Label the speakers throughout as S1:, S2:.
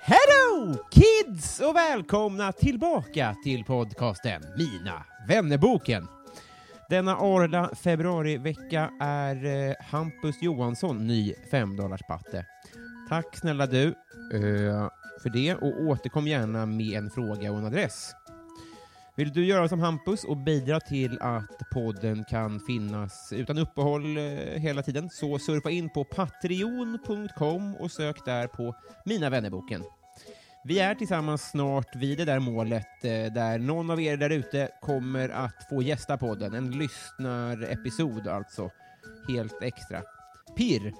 S1: Hello kids och välkomna tillbaka till podcasten Mina vännerboken. Denna arla februarivecka är eh, Hampus Johansson ny femdollarspatte. Tack snälla du eh, för det och återkom gärna med en fråga och en adress. Vill du göra som Hampus och bidra till att podden kan finnas utan uppehåll eh, hela tiden så surfa in på patreon.com och sök där på Mina vännerboken. Vi är tillsammans snart vid det där målet eh, där någon av er där ute kommer att få gästa podden. En lyssnarepisod alltså. Helt extra. Pirr!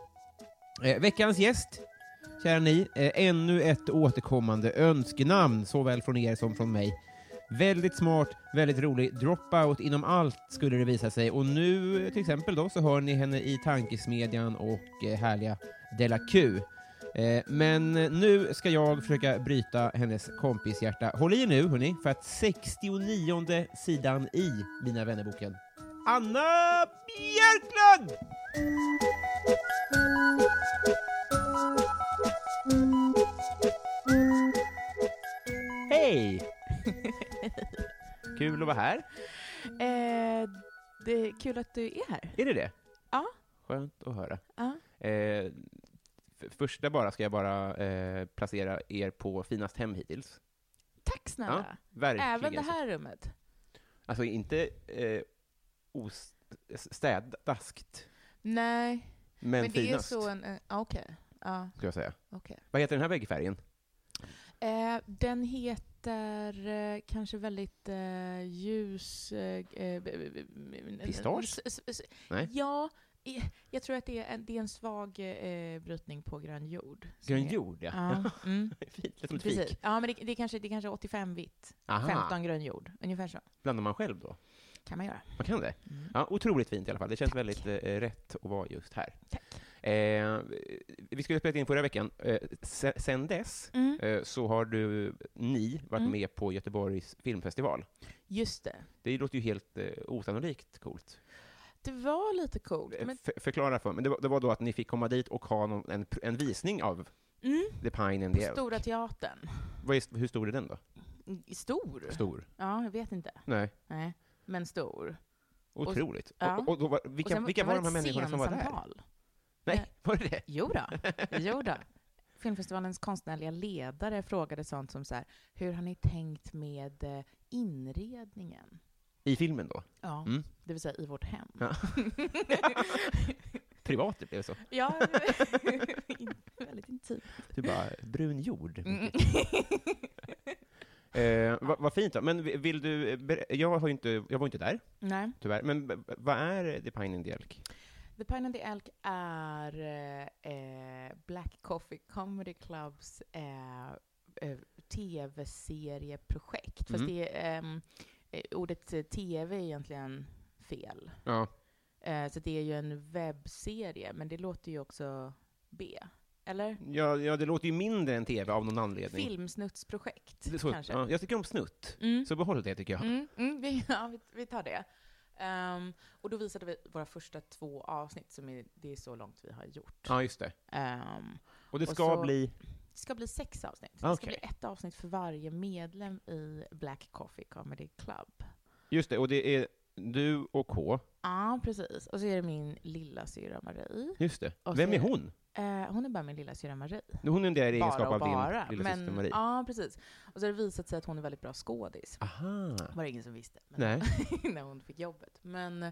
S1: Eh, veckans gäst, kära ni, eh, ännu ett återkommande önskenamn såväl från er som från mig. Väldigt smart, väldigt rolig, dropout inom allt skulle det visa sig och nu eh, till exempel då så hör ni henne i Tankesmedjan och eh, härliga Della Q. Eh, Men nu ska jag försöka bryta hennes kompishjärta. Håll i er nu hörni, för att 69 sidan i Mina vännerboken. Anna Björklund! Hej! Kul att vara här.
S2: Eh, det är kul att du är här.
S1: Är det det?
S2: Ja.
S1: Skönt att höra.
S2: Ja.
S1: Eh, f- första bara ska jag bara eh, placera er på finast hem hittills.
S2: Tack snälla.
S1: Verkligen.
S2: Även det här rummet.
S1: Alltså inte eh, os- städaskt,
S2: Nej,
S1: men,
S2: men det
S1: finast,
S2: är så en... en- ja, Okej. Ja,
S1: ska jag säga.
S2: okej.
S1: Vad heter den här väggfärgen?
S2: Eh, den heter eh, kanske väldigt eh, ljus... Eh, eh, b- b- b-
S1: Pistage?
S2: s- s- s-
S1: Nej.
S2: Ja, i- jag tror att det är en, det är en svag eh, brytning på grön jord. som
S1: Grön
S2: är-
S1: jord, ja.
S2: Ja, mm,
S1: Fint, som ett
S2: precis.
S1: fik. Ah.
S2: Ja, men det, det, är kanske, det är kanske 85 vitt,
S1: Aha.
S2: 15 grön jord. Ungefär så.
S1: Blandar man själv då?
S2: Kan man göra.
S1: Man kan det?
S2: Mm.
S1: Ja, otroligt fint i alla fall. Det känns
S2: Tack.
S1: väldigt eh, rätt att vara just här.
S2: Tack.
S1: Eh, vi skulle spela in förra veckan. Eh, se- sen dess
S2: Mm.
S1: eh, så har du, ni varit
S2: Mm.
S1: med på Göteborgs filmfestival.
S2: Just det.
S1: Det låter ju helt eh, osannolikt coolt.
S2: Det var lite coolt.
S1: Eh,
S2: Men,
S1: för- förklara för mig. Det var, det var då att ni fick komma dit och ha någon, en, pr- en visning av
S2: mm,
S1: The Pine and
S2: på
S1: the Elk.
S2: Stora Teatern.
S1: Vad är, hur stor är den då?
S2: Mm, Stor?
S1: Stor.
S2: Ja, jag vet inte.
S1: Nej,
S2: Nej, men stor.
S1: otroligt. Och,
S2: ja.
S1: och, och då var, vilka
S2: Och sen
S1: vilka
S2: det
S1: var de
S2: ett
S1: här människorna som var där?
S2: scensamtal.
S1: Nej, var det det?
S2: Jo då, jo då. Filmfestivalens konstnärliga ledare frågade sånt som så här, hur har ni tänkt med eh, inredningen?
S1: I filmen då?
S2: Ja,
S1: Mm.
S2: det vill säga i vårt hem.
S1: Ja. Privat det blev så.
S2: ja, in- väldigt intimt.
S1: Du bara, brun jord.
S2: Mm.
S1: Eh, vad, vad fint då. Men vi- vill du, eh, ber- jag, har ju inte, jag var inte där,
S2: Nej.
S1: tyvärr. Men b- b- vad är The Pine and the Elk?
S2: The Pine and the Elk är eh, eh, Black Coffee Comedy Clubs eh, eh, tv-serieprojekt. Fast
S1: Mm.
S2: det är, ehm, eh, ordet eh, tv är egentligen fel.
S1: Ja,
S2: Eh, så det är ju en webbserie, men det låter ju också B. Eller?
S1: ja, ja, det låter ju mindre än tv av någon anledning.
S2: Filmsnutsprojekt,
S1: Det är så-
S2: kanske.
S1: Ja, jag tycker om snutt.
S2: Mm.
S1: Så behåll det tycker jag.
S2: Mm, mm, vi, ja, vi, vi tar det. Ehm, och då visade vi våra första två avsnitt, som är, det är så långt vi har gjort.
S1: Ja, just det.
S2: Ehm,
S1: Och det
S2: Och
S1: ska
S2: så-
S1: bli...
S2: Det ska bli sex avsnitt. Det ska
S1: Okej.
S2: bli ett avsnitt för varje medlem i Black Coffee Comedy Club.
S1: Just det, och det är du och K
S2: Ja. Ja, precis. Och så är det min lilla syra Marie.
S1: Just det.
S2: Och
S1: Vem
S2: så-
S1: är hon?
S2: Eh, hon är bara min lilla syra Marie.
S1: Hon är en del i egenskap
S2: Bara och
S1: av
S2: bara.
S1: din lilla syster Marie.
S2: Ja, precis. Och så har det visat sig att hon är väldigt bra skådis.
S1: Aha.
S2: var det ingen som visste. Men
S1: Nej.
S2: när hon fick jobbet. Men,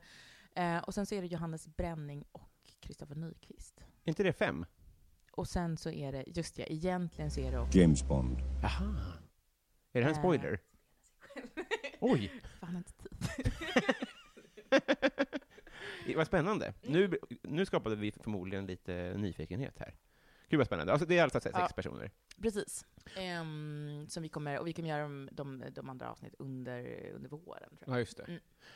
S2: eh, och sen så är det Johannes Bränning och Kristoffer Nyqvist.
S1: Är inte det fem?
S2: Och sen så är det, just ja, egentligen så är det också...
S3: James Bond.
S1: Aha. Är det här en
S2: Eh.
S1: spoiler? Oj!
S2: Fan, jag har inte tid.
S1: Vad spännande.
S2: Mm.
S1: Nu, nu skapade vi förmodligen lite nyfikenhet här. Gud vad spännande. Alltså, det är alltså sex
S2: Ja.
S1: personer.
S2: Precis. Ehm, som vi kommer, och vi kommer göra de, de, de andra avsnitten under, under våren, tror jag.
S1: Ja, just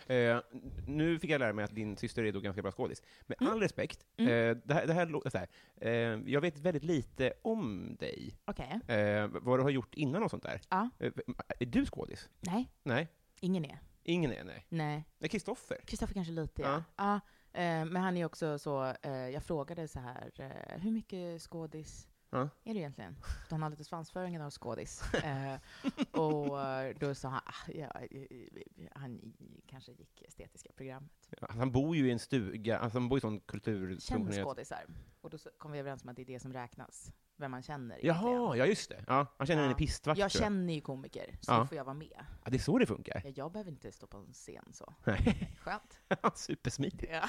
S1: det. Eh, nu fick jag lära mig att din syster är då ganska bra skådis. Med
S2: Mm.
S1: all respekt, eh, det här, det här låter så här. Eh, jag vet väldigt lite om dig.
S2: Okej.
S1: Eh, vad du har gjort innan och sånt där.
S2: Ja.
S1: Eh, är du skådis?
S2: Nej,
S1: Nej,
S2: ingen är.
S1: ingen är nej.
S2: Nej.
S1: Nej, Kristoffer?
S2: Kristoffer kanske lite,
S1: Ja.
S2: ja. ja. eh, men han är också så, eh, jag frågade så här, eh, hur mycket skådis
S1: Ja.
S2: är du egentligen? För han har lite svansföringen av skådis. Eh, och eh, då sa han, ah, ja, eh, eh, han i- kanske gick estetiska programmet.
S1: Alltså, han bor ju i en stuga, alltså, han bor i en sån kultur...
S2: Känn skådisar. Och då så kom vi överens om att det är det som räknas, vem man känner. egentligen.
S1: Jaha, ja just det. Ja, han känner
S2: Ja.
S1: en pistvakt
S2: Jag
S1: tror jag.
S2: känner ju komiker, så
S1: Ja.
S2: då får jag vara med.
S1: Ja, det är så det funkar.
S2: Ja, jag behöver inte stå på en scen så.
S1: Nej.
S2: Skönt.
S1: Supersmidigt.
S2: Ja.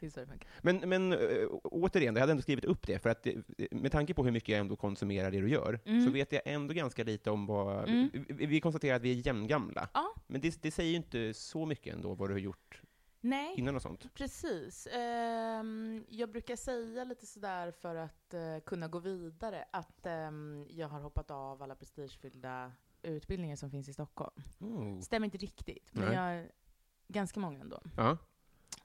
S2: det är så det funkar.
S1: Men, men eh, å- återigen, jag hade ändå skrivit upp det, för att eh, med tanke på hur mycket jag ändå konsumerar det du gör,
S2: Mm.
S1: så vet jag ändå ganska lite om vad... Vi, vi konstaterar att vi är jämngamla.
S2: Ja.
S1: Men det, det säger ju inte så mycket ändå vad du har gjort
S2: Nej.
S1: innan och sånt.
S2: Precis. Ehm, jag brukar säga lite sådär för att eh, kunna gå vidare att ehm, jag har hoppat av alla prestigefyllda utbildningar som finns i Stockholm.
S1: Oh.
S2: Stämmer inte riktigt, men
S1: Nej.
S2: jag ganska många ändå.
S1: Ja.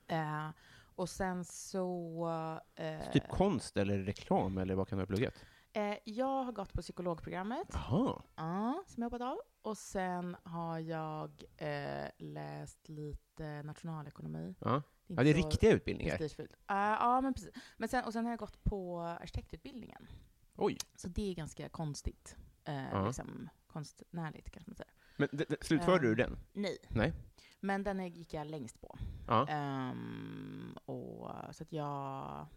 S2: Eh, och sen så... eh,
S1: Så typ konst eller reklam, eller vad kan du ha pluggat?
S2: eh, jag har gått på psykologprogrammet,
S1: Jaha.
S2: ja, som jag hoppat av. Och sen har jag eh, läst lite nationalekonomi.
S1: Ja.
S2: Det är
S1: ja, det är
S2: inte så-
S1: riktiga utbildningar.
S2: Prestigefyllt. Eh, ja, men precis. Men sen, och sen har jag gått på arkitektutbildningen.
S1: Oj.
S2: Så det är ganska konstigt. Eh,
S1: Ja.
S2: liksom, konstnärligt kanske man säger.
S1: Men d- d- slutförde
S2: Eh.
S1: du den?
S2: Nej.
S1: Nej.
S2: Men den är- gick jag längst på.
S1: Ja.
S2: Ehm, och, så att jag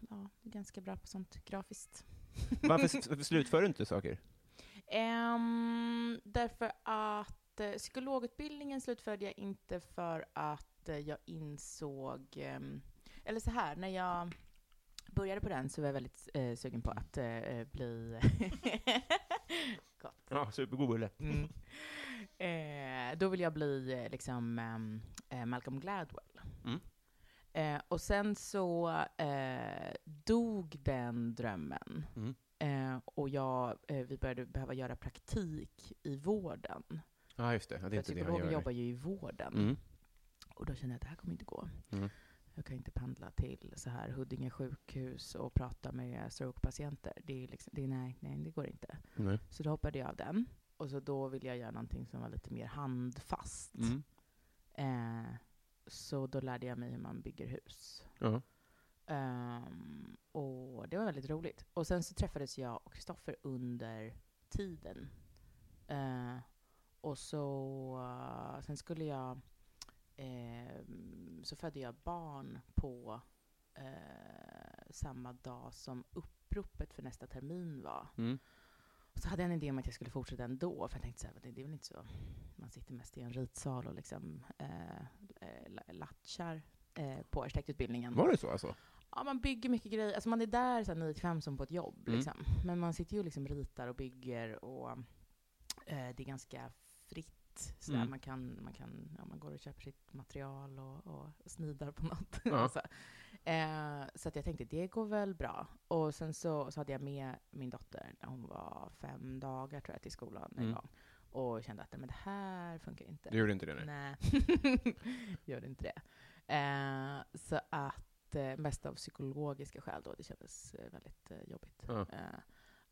S2: ja, är ganska bra på sånt grafiskt.
S1: Varför s- varför slutför du inte saker?
S2: Ehm, därför att eh, psykologutbildningen slutförde jag inte för att eh, jag insåg, ehm, eller så här, när jag började på den så var jag väldigt eh, sugen på att eh, bli gott.
S1: Ja, supergod bulle.
S2: Mm. Eh, då vill jag bli eh, liksom ehm, eh, Malcolm Gladwell.
S1: Mm.
S2: Eh, och sen så eh, dog den drömmen.
S1: Mm.
S2: Eh, och jag, eh, vi började behöva göra praktik i vården.
S1: Ja, just det. Ja, det är
S2: För
S1: inte det han
S2: psykologer
S1: gör.
S2: jobbar ju i vården.
S1: Mm.
S2: Och då kände jag att det här kommer inte gå.
S1: Mm.
S2: Jag kan inte pendla till så här Huddinge sjukhus och prata med strokepatienter. Det är liksom, det är, nej, nej, det går inte.
S1: Nej.
S2: Så då hoppade jag av den. Och så då ville jag göra någonting som var lite mer handfast.
S1: Mm.
S2: Eh, så då lärde jag mig hur man bygger hus.
S1: Ja.
S2: Ehm, och det var väldigt roligt. Och sen så träffades jag och Kristoffer under tiden. Eh, och så, eh, sen skulle jag, ehm, så födde jag barn på eh, samma dag som uppropet för nästa termin var.
S1: Mm.
S2: Och så hade jag en idé om att jag skulle fortsätta ändå, för jag tänkte så här, det, det är väl inte så, man sitter mest i en ritsal och liksom eh, eh, la- latchar eh, på arkitektutbildningen.
S1: Var det så alltså?
S2: Ja, man bygger mycket grejer. Alltså man är där så här 9 till 5 som på ett jobb.
S1: Mm.
S2: Liksom. Men man sitter ju och liksom ritar och bygger och eh, det är ganska fritt. Så där.
S1: Mm.
S2: Man, kan, man, kan, ja, man går och köper sitt material och, och snidar på något.
S1: Ja.
S2: så. Eh, så att jag tänkte, det går väl bra. Och sen så, så hade jag med min dotter när hon var fem dagar tror jag, till skolan en
S1: Mm.
S2: gång. Och kände att nej, men det här funkar inte.
S1: Du gjorde inte det, nej.
S2: Nej, gör inte det. Eh, så att, eh, mest av psykologiska skäl då, det kändes eh, väldigt eh, jobbigt.
S1: Ja.
S2: Eh,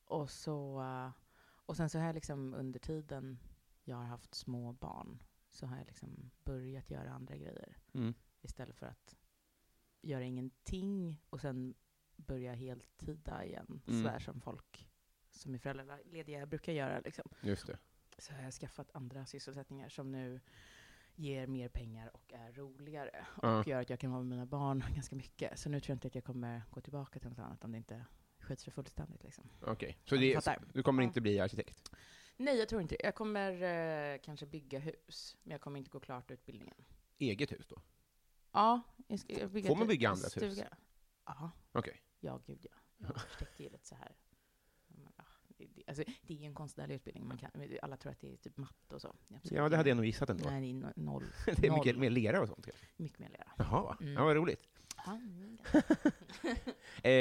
S2: och, så, eh, och sen så har jag liksom under tiden jag har haft små barn så har jag liksom börjat göra andra grejer
S1: Mm.
S2: istället för att göra ingenting och sen börja heltida igen,
S1: Mm.
S2: sådär som folk som är föräldralediga brukar göra. Liksom
S1: Just det.
S2: så har jag skaffat andra sysselsättningar som nu ger mer pengar och är roligare.
S1: Ja.
S2: Och gör att jag kan vara med mina barn ganska mycket. Så nu tror jag inte att jag kommer gå tillbaka till något annat om det inte sköts för fullständigt. Liksom.
S1: Okej, så
S2: Ja,
S1: det,
S2: fattar.
S1: du kommer
S2: Ja.
S1: inte bli arkitekt?
S2: Nej, jag tror inte det. Jag kommer eh, kanske bygga hus, men jag kommer inte gå klart utbildningen.
S1: Eget hus då?
S2: Ja, jag ska jag bygga
S1: Får man
S2: ett-
S1: bygga
S2: en
S1: andras hus?
S2: stuga. Ja.
S1: Okej.
S2: Ja, gud ja. Jag arkitekt är ju lite så här. men, ja, det- det- Alltså, det är ju en konstnärlig utbildning. Man kan, men alla tror att det är typ matte och så. Absolut.
S1: Ja, det hade jag nog gissat ändå.
S2: Nej, det är no- noll.
S1: det är
S2: noll.
S1: mycket mer lera och sånt kanske?
S2: Mycket mer lera.
S1: Jaha,
S2: Mm.
S1: ja, vad roligt.
S2: Ja, mm,
S1: Eh,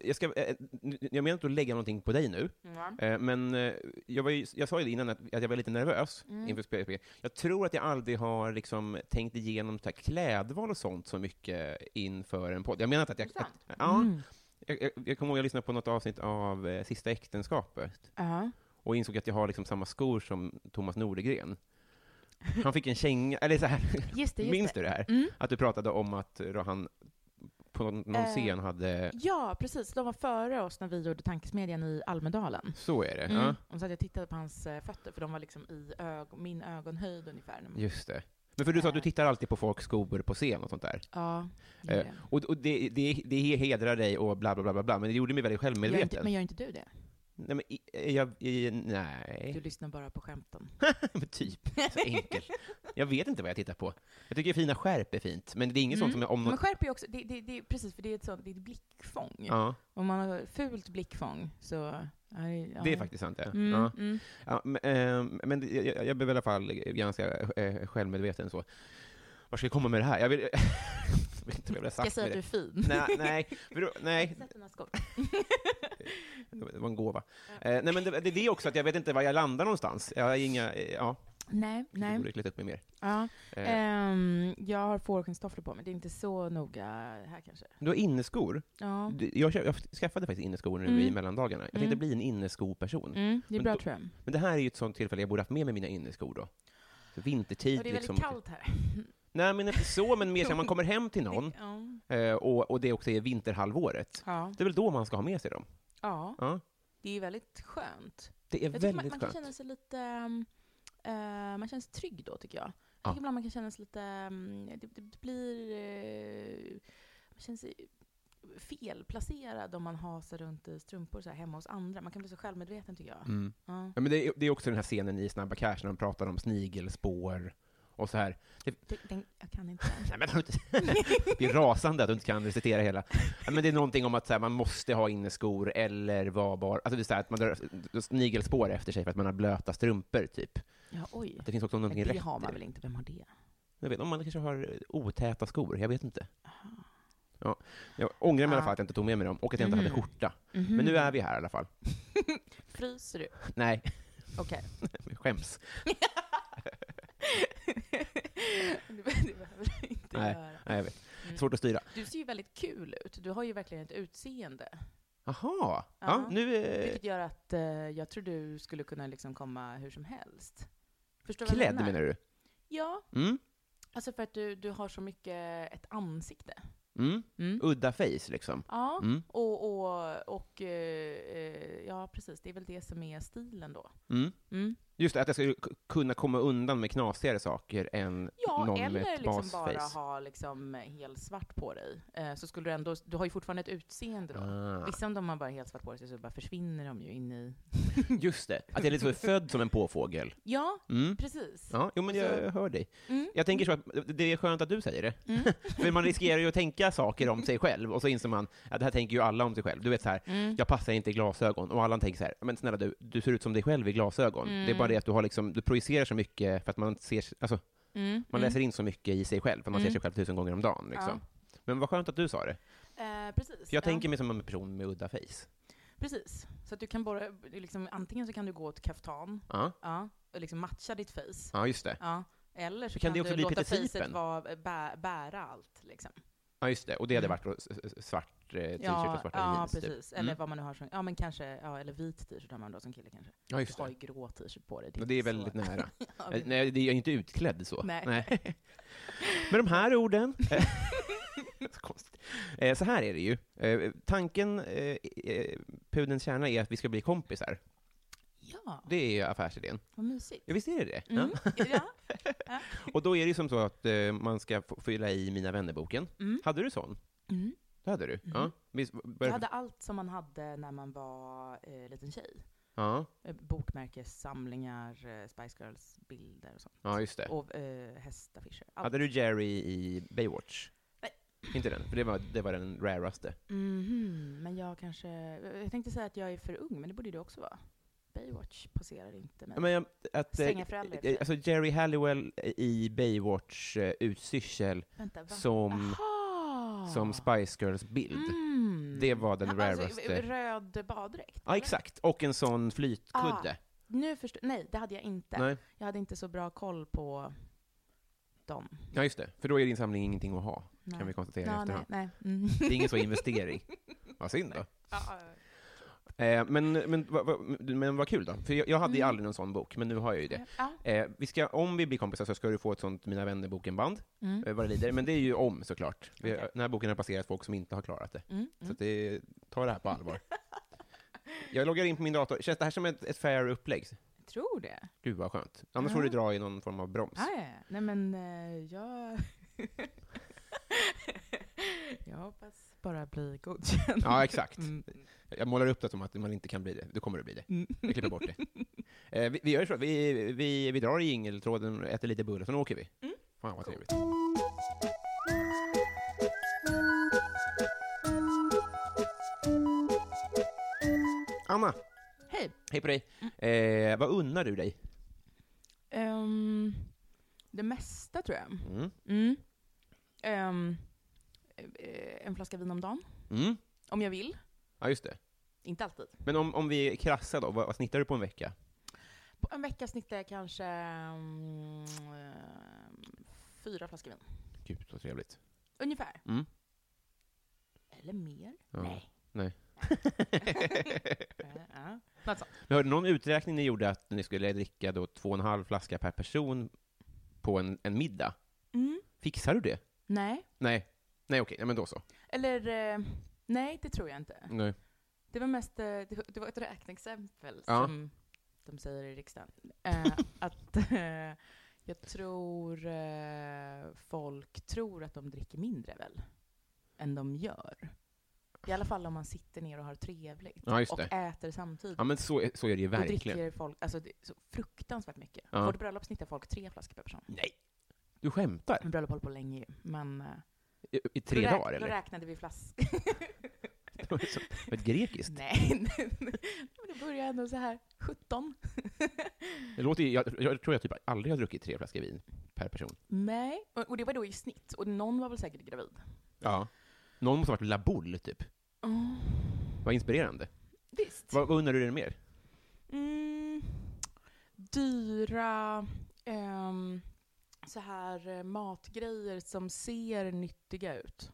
S1: jag, ska, eh, n- n- jag menar inte att lägga någonting på dig nu,
S2: ja.
S1: eh, men eh, jag, var ju, jag sa ju det innan att, att jag var lite nervös
S2: Mm.
S1: inför spel. Jag tror att jag aldrig har liksom, tänkt igenom så här, klädval och sånt så mycket inför en podd. Jag menar inte att jag... Att,
S2: Sant.
S1: ja,
S2: Mm.
S1: jag, jag, jag kommer ihåg att jag lyssnade på något avsnitt av eh, Sista äktenskapet
S2: Ja.
S1: och insåg att jag har liksom samma skor som Thomas Nordegren. Han fick en känga, eller så här,
S2: Just det, just
S1: minns
S2: det.
S1: du det här?
S2: Mm.
S1: Att du pratade om att eh, då han på någon, någon
S2: Eh.
S1: scen hade...
S2: Ja, precis. De var före oss när vi gjorde Tankesmedjan i Almedalen.
S1: Så är det.
S2: Mm.
S1: Ja.
S2: Och så att jag tittade på hans eh, fötter, för de var liksom i ög- min ögonhöjd ungefär. när man-
S1: Just det. Men för du sa att du
S2: Eh.
S1: tittar alltid på folks skor på scen och sånt där.
S2: Ja, det
S1: Eh,
S2: gjorde jag.
S1: Och, och det, det, det hedrar dig och bla bla bla bla, bla men det gjorde mig väldigt
S2: Gör inte,
S1: självmedveten.
S2: men gör inte du det?
S1: Nej, men i, jag, i,
S2: Du
S1: nej.
S2: lyssnar bara på skämten.
S1: men typ. Eh. Så enkelt. Jag vet inte vad jag tittar på. Jag tycker fina skärp är fint, men det är inget sånt som jag om
S2: Mm. Men
S1: något...
S2: skärp är ju också, det, det, det, är precis, för det är ett sånt, det är ett blickfång.
S1: Ja,
S2: Om man har fult blickfång så... Ja, ja.
S1: det är faktiskt sant. Ja.
S2: Mm,
S1: Ja.
S2: mm.
S1: Ja, men, eh, men det- jag, jag blev i alla fall ganska eh, självmedveten så. Var ska jag komma med det här? Jag vill... jag vet inte vad jag vill ha
S2: Ska jag
S1: sagt
S2: säga
S1: med
S2: att du är
S1: det.
S2: fin?
S1: Nej, nej, för då- nej,
S2: Sätt dina skor.
S1: Det var en gåva. Eh, nej, men det, det är det också, att jag vet inte var jag landar någonstans. Jag har inga, eh, ja,
S2: Nej,
S1: det borde
S2: nej.
S1: klätt upp mig mer.
S2: Ja.
S1: Eh,
S2: Ehm, jag har fårskinnstofflor på mig, det är inte så noga här kanske. Mm,
S1: Du har inneskor.
S2: Ja.
S1: Du- Jag, köp- jag skaffade faktiskt inneskor nu
S2: Mm.
S1: i mellandagarna. Jag tänkte
S2: Mm.
S1: bli en inneskoperson.
S2: Mm, det är
S1: Men
S2: bra
S1: då-
S2: tror jag.
S1: Men det här är ju ett sånt tillfälle jag borde haft med mig mina inneskor då. Så vintertid.
S2: Och det är väldigt
S1: liksom.
S2: kallt här.
S1: Nej, men inte så, men mer så här, man kommer hem till någon
S2: Ja.
S1: eh, och, och det också är vinterhalvåret.
S2: Ja.
S1: Det är väl då man ska ha med sig dem?
S2: ja,
S1: Ja.
S2: det är väldigt skönt.
S1: Det är
S2: Jag tycker man,
S1: väldigt
S2: man kan
S1: skönt.
S2: känna sig lite... ehm, eh, man känner sig trygg då, tycker jag. Jag
S1: Ja.
S2: tycker ibland man kan känna sig lite... ehm, det, det, det blir... eh, man känner sig felplacerad om man hasar runt i strumpor så här hemma hos andra. Man kan bli så självmedveten, tycker jag.
S1: Mm.
S2: Ja.
S1: Ja, men det, är, det är också den här scenen i Snabba Cash när de pratar om snigelspår och så här.
S2: Den, den, jag kan inte den.
S1: Nej, men har du inte- det är rasande att du inte kan recitera hela. Ja, Men det är någonting om att så här, man måste ha inneskor eller vara bara... Alltså det är så här, att man drar snigelspår efter sig för att man har blöta strumpor, typ.
S2: Ja, oj.
S1: Det finns också
S2: Men
S1: någonting
S2: det
S1: rätt
S2: har man
S1: i
S2: väl inte? Vem har det?
S1: Jag vet, om man kanske har eh, otäta skor, jag vet inte. Ja, jag ångrar mig
S2: Ah.
S1: i alla fall att jag inte tog med mig dem och att jag inte
S2: Mhm.
S1: hade skjorta. Men
S2: Mm.
S1: nu är vi här i alla fall.
S2: Fryser du?
S1: Nej,
S2: Okej.
S1: jag skäms.
S2: det behöver du inte
S1: Nej.
S2: göra.
S1: Nej, jag vet.
S2: Mm.
S1: Svårt att styra.
S2: Du ser ju väldigt kul ut. Du har ju verkligen ett utseende.
S1: Jaha,
S2: Ja.
S1: ja, nu... Eh,
S2: Vilket gör att eh, jag tror du skulle kunna liksom komma hur som helst. Förstår du vad jag
S1: klädd menar du?
S2: Ja,
S1: Mm,
S2: alltså för att du, du har så mycket ett ansikte.
S1: mm.
S2: Mm.
S1: Udda face, liksom.
S2: Ja,
S1: Mm,
S2: och, och, och eh, eh, ja precis, det är väl det som är stilen då.
S1: mm.
S2: Mm.
S1: Just det, att jag skulle k- kunna komma undan med knasigare saker än
S2: Ja,
S1: någon
S2: eller
S1: med ett
S2: liksom
S1: basface.
S2: bara ha liksom helt svart på dig. Eh, så skulle du ändå, du har ju fortfarande ett utseende då.
S1: Ah,
S2: Vissa om de har bara helt svart på sig så bara försvinner de ju in i...
S1: just det, att jag är lite så född som en påfågel.
S2: Ja,
S1: Mm.
S2: precis.
S1: Ja, jo, men jag hör dig.
S2: Mm.
S1: Jag tänker så att det är skönt att du säger det. För man riskerar ju att tänka saker om sig själv, och så inser man att det här tänker ju alla om sig själv. Du vet så här,
S2: Mm.
S1: jag passar inte i glasögon, och alla tänker så här, men snälla du, du ser ut som dig själv i glasögon. Det
S2: Mm.
S1: är bara det att du, har liksom, du projicerar så mycket för att man ser, alltså,
S2: Mm.
S1: man läser in så mycket i sig själv, för man ser sig själv tusen gånger om dagen. Liksom. Men vad skönt att du sa det.
S2: Eh, precis.
S1: För jag
S2: ja.
S1: tänker mig som en person med udda face.
S2: Precis. Så att du kan bara, liksom, antingen så kan du gå åt kaftan,
S1: Ja,
S2: ja, och liksom matcha ditt face,
S1: ja just det.
S2: ja. Eller så
S1: Men kan
S2: kan,
S1: det också
S2: du
S1: bli
S2: låta
S1: lite
S2: facet
S1: sipen?
S2: vara, eh, bä, bära allt. Liksom.
S1: Ja, just det. Och det hade varit då s- s- svart eh, t-shirt och svarta
S2: Mm. ja
S1: jeans. typ.
S2: precis.
S1: Mm.
S2: Eller vad man nu har som, ja men kanske, ja, eller vit t-shirt har man då som kille kanske.
S1: Ja,
S2: Du
S1: just
S2: har ju
S1: det.
S2: grå t-shirt på dig.
S1: Och det är
S2: inte
S1: väldigt
S2: så-
S1: nära.
S2: Ja,
S1: Eh,
S2: det-
S1: Nej, det är inte utklädd så.
S2: Nej.
S1: Med de här orden... eh, så konstigt. Eh, Så här är det ju. Eh, Tanken, eh, eh, pudelns kärna, är att vi ska bli kompisar.
S2: Ja,
S1: Det är ju affärsidén.
S2: vad mysigt.
S1: Ja, visst är det det?
S2: Mm.
S1: Ja.
S2: Ja.
S1: Och då är det ju som så att eh, man ska få fylla i Mina vännerboken.
S2: Mm.
S1: Hade du sån?
S2: Mm.
S1: Det hade du? Ja. Visst, var
S2: Jag
S1: det-
S2: hade allt som man hade när man var eh, liten tjej.
S1: ja.
S2: Eh, Bokmärkessamlingar, eh, Spice Girls bilder och sånt.
S1: ja, just det.
S2: Och eh, hästaffischer. Allt.
S1: Hade du Jerry i Baywatch?
S2: Nej.
S1: Inte den, för det var, det var den raraste.
S2: Mhm, Men jag kanske... eh, Jag tänkte säga att jag är för ung, men det borde du också vara. Baywatch passerar inte mig.
S1: Men jag, att, eh,
S2: Stränga föräldrar,
S1: eh,
S2: för.
S1: alltså Jerry Halliwell i Baywatch eh, utstyrsel
S2: Vänta, va?
S1: som,
S2: Aha!
S1: som Spice Girls-bild.
S2: Mm.
S1: Det var den
S2: Ja,
S1: raraste.
S2: röd baddräkt?
S1: Ja,
S2: eller?
S1: exakt. Och en sån
S2: Ah,
S1: flytkudde.
S2: Nu förstår... Nej, det hade jag inte.
S1: Nej.
S2: Jag hade inte så bra koll på dem.
S1: Ja, just det. För då är din samling ingenting att ha,
S2: Nej.
S1: kan vi konstatera i
S2: Ja, nej,
S1: efterhand.
S2: nej. Mm.
S1: Det är ingen så investering. Vad synd då.
S2: Ja, ja,
S1: Eh, men, men, vad- vad- men vad kul då. För jag, jag hade ju
S2: Mm.
S1: aldrig någon sån bok, men nu har jag ju det.
S2: ja. Ja.
S1: Eh, vi ska, om vi blir kompisar så ska du få ett sånt Mina vänner-boken-band,
S2: Mm.
S1: eh, vad det lider. Men det är ju om såklart. Vi,
S2: Okej.
S1: Den här boken har passerat folk som inte har klarat det.
S2: Mm.
S1: Så
S2: Mm.
S1: att det, ta det här på allvar. jag loggar in på min dator. Känns det här som ett, ett fair upplägg?
S2: Jag tror det.
S1: Gud vad skönt. Annars får du
S2: Ja.
S1: dra i någon form av broms.
S2: Ja, ja, ja. Nej, men eh, jag... jag hoppas bara bli godkänd.
S1: Ja, exakt.
S2: Mm.
S1: Jag målar upp det som att man inte kan bli det. Du kommer att bli det.
S2: Mm.
S1: Vi klipper bort det. Eh, vi, vi gör ju så. Vi, vi, vi drar i jingeltråden, äter lite bulle, sen åker vi.
S2: Mm.
S1: Fan vad trevligt. Anna,
S2: Hej. Mm.
S1: hej på dig. Eh, vad unnar du dig?
S2: Ehm, det mesta, tror jag.
S1: Mm.
S2: Mm. Ehm, eh, en flaska vin om dagen,
S1: Mm.
S2: om jag vill.
S1: Ja, just det.
S2: Inte alltid.
S1: Men om, om vi krassar då, vad, vad snittar du på en vecka?
S2: På en vecka snittar jag kanske mm, eh, fyra flaskor vin.
S1: Gud, så trevligt.
S2: Ungefär.
S1: Mm.
S2: Eller mer?
S1: Ja.
S2: Nej.
S1: Nej.
S2: Eh, ja. Något sånt.
S1: Men hörde någon uträkning ni gjorde att ni skulle dricka då två och en halv flaska per person på en, en middag?
S2: Mm.
S1: Fixar du det?
S2: Nej.
S1: Nej. Nej, okej. Ja, men då så.
S2: Eller, eh, nej det tror jag inte.
S1: Nej.
S2: Det var mest, eh, det var- det var ett räkneexempel
S1: Ja.
S2: som de säger i riksdagen. Eh, att eh, jag tror eh, folk tror att de dricker mindre väl, än de gör. I alla fall om man sitter ner och har trevligt
S1: Ja, just
S2: och
S1: det.
S2: äter samtidigt.
S1: Ja, men så, är- så är det ju
S2: Då
S1: verkligen.
S2: dricker folk alltså, det är så fruktansvärt mycket.
S1: Ja.
S2: På ett bröllop snittar folk tre flaskor per person.
S1: Nej. Du skämtar?
S2: Men bröllop håller på länge ju. Men, eh,
S1: I, i tre
S2: då räk-
S1: dagar,
S2: Då
S1: eller?
S2: räknade vi flaskor.
S1: Ett grekiskt?
S2: Nej, men det börjar ändå så här 17.
S1: Det låter ju, jag, jag tror jag typ aldrig har druckit tre flaskor vin per person.
S2: Nej, och, och det var då i snitt. Och någon var väl säkert gravid.
S1: Ja. Någon måste ha varit laboll, typ.
S2: Oh.
S1: Vad inspirerande.
S2: Typ. Visst.
S1: Vad, vad undrar du dig mer?
S2: Mm, dyra ehm, så här eh, matgrejer som ser nyttiga ut.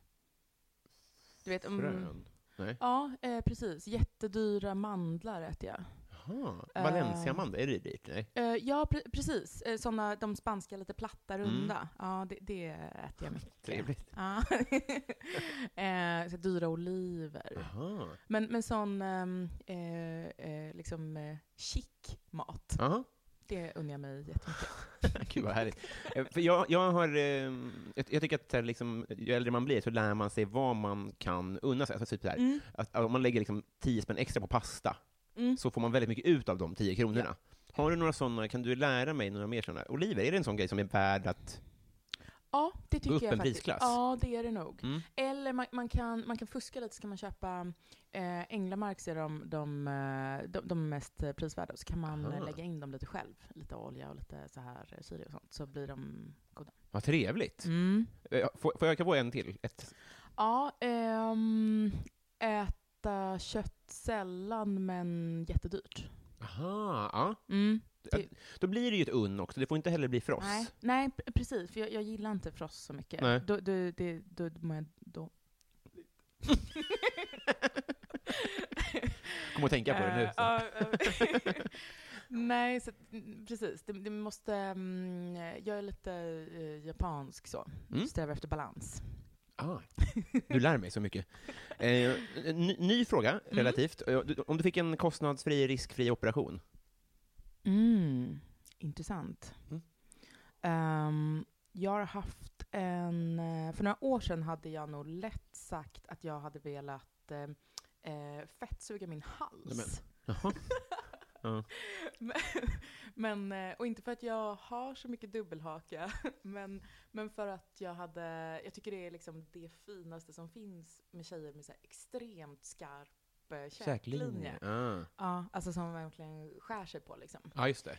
S2: Du vet, mm,
S1: Frön? Nej.
S2: ja eh, precis. Jättedyra mandlar äter jag.
S1: Jaha.
S2: Eh.
S1: Valenciamanda, är det dyrt? Nej.
S2: Eh, ja, pre- precis. Eh, såna, de spanska lite platta,
S1: Mm.
S2: runda. Ja, det, det äter jag mycket.
S1: Trevligt.
S2: Ja. eh, så dyra oliver.
S1: Jaha.
S2: Men, men sån ehm, eh, eh, liksom eh, chic mat,
S1: Jaha.
S2: det unnar jag mig jättemycket.
S1: Gud vad härligt. Eh, För jag, jag, har, eh, jag, jag tycker att så här, liksom, ju äldre man blir så lär man sig vad man kan unna sig. Alltså, typ så här,
S2: Mm.
S1: att, att om man lägger liksom 10 spänn extra på pasta
S2: Mm.
S1: så får man väldigt mycket ut av de 10 kronorna. Har du några sådana, kan du lära mig några mer sådana? Oliver, är det en sån grej som är värd att...
S2: Ja, det tycker
S1: upp
S2: jag
S1: en
S2: faktiskt.
S1: prisklass.
S2: Ja, det är det nog.
S1: Mm.
S2: Eller man, man, kan, man kan fuska lite, så kan man köpa eh, Änglamark, så är de, de, eh, de, de mest eh, prisvärda. Så kan man eh,
S1: Aha.
S2: lägga in dem lite själv. Lite olja och lite så här eh, chili och sånt. Så blir de goda.
S1: Vad trevligt. Eh, Får, får jag öka på en till? Ett.
S2: Ja, ehm, äta kött sällan men jättedyrt.
S1: Aha, ja.
S2: Mm. Det-
S1: Då blir det ju ett unn också, det får inte heller bli fross.
S2: Nej, nej, p- precis. För jag, jag gillar inte frost så mycket.
S1: Nej.
S2: Då, då, det, då, då, mår jag- då.
S1: Kom och tänka på det nu.
S2: Eh, ja, eh, nej, så, att, mm, precis. Det, det måste, mm, jag är lite eh, japansk så.
S1: Mm.
S2: Strävar efter balans.
S1: Ah, du lär mig så mycket. Mm. Eh, ny, ny fråga, relativt. Eh, du- Om du fick en kostnadsfri, riskfri operation,
S2: Mm, intressant.
S1: Mm.
S2: Ehm, jag har haft en... eh, För några år sedan hade jag nog lätt sagt att jag hade velat eh, eh, fettsuga min hals.
S1: Jaha. Ja.
S2: men, men, eh, och inte för att jag har så mycket dubbelhaka, men, men för att jag hade... Jag tycker det är liksom det finaste som finns med tjejer med så här extremt skarp eh, käklinje.
S1: Ja,
S2: Ja, alltså som verkligen skär sig på liksom.
S1: ah, just det.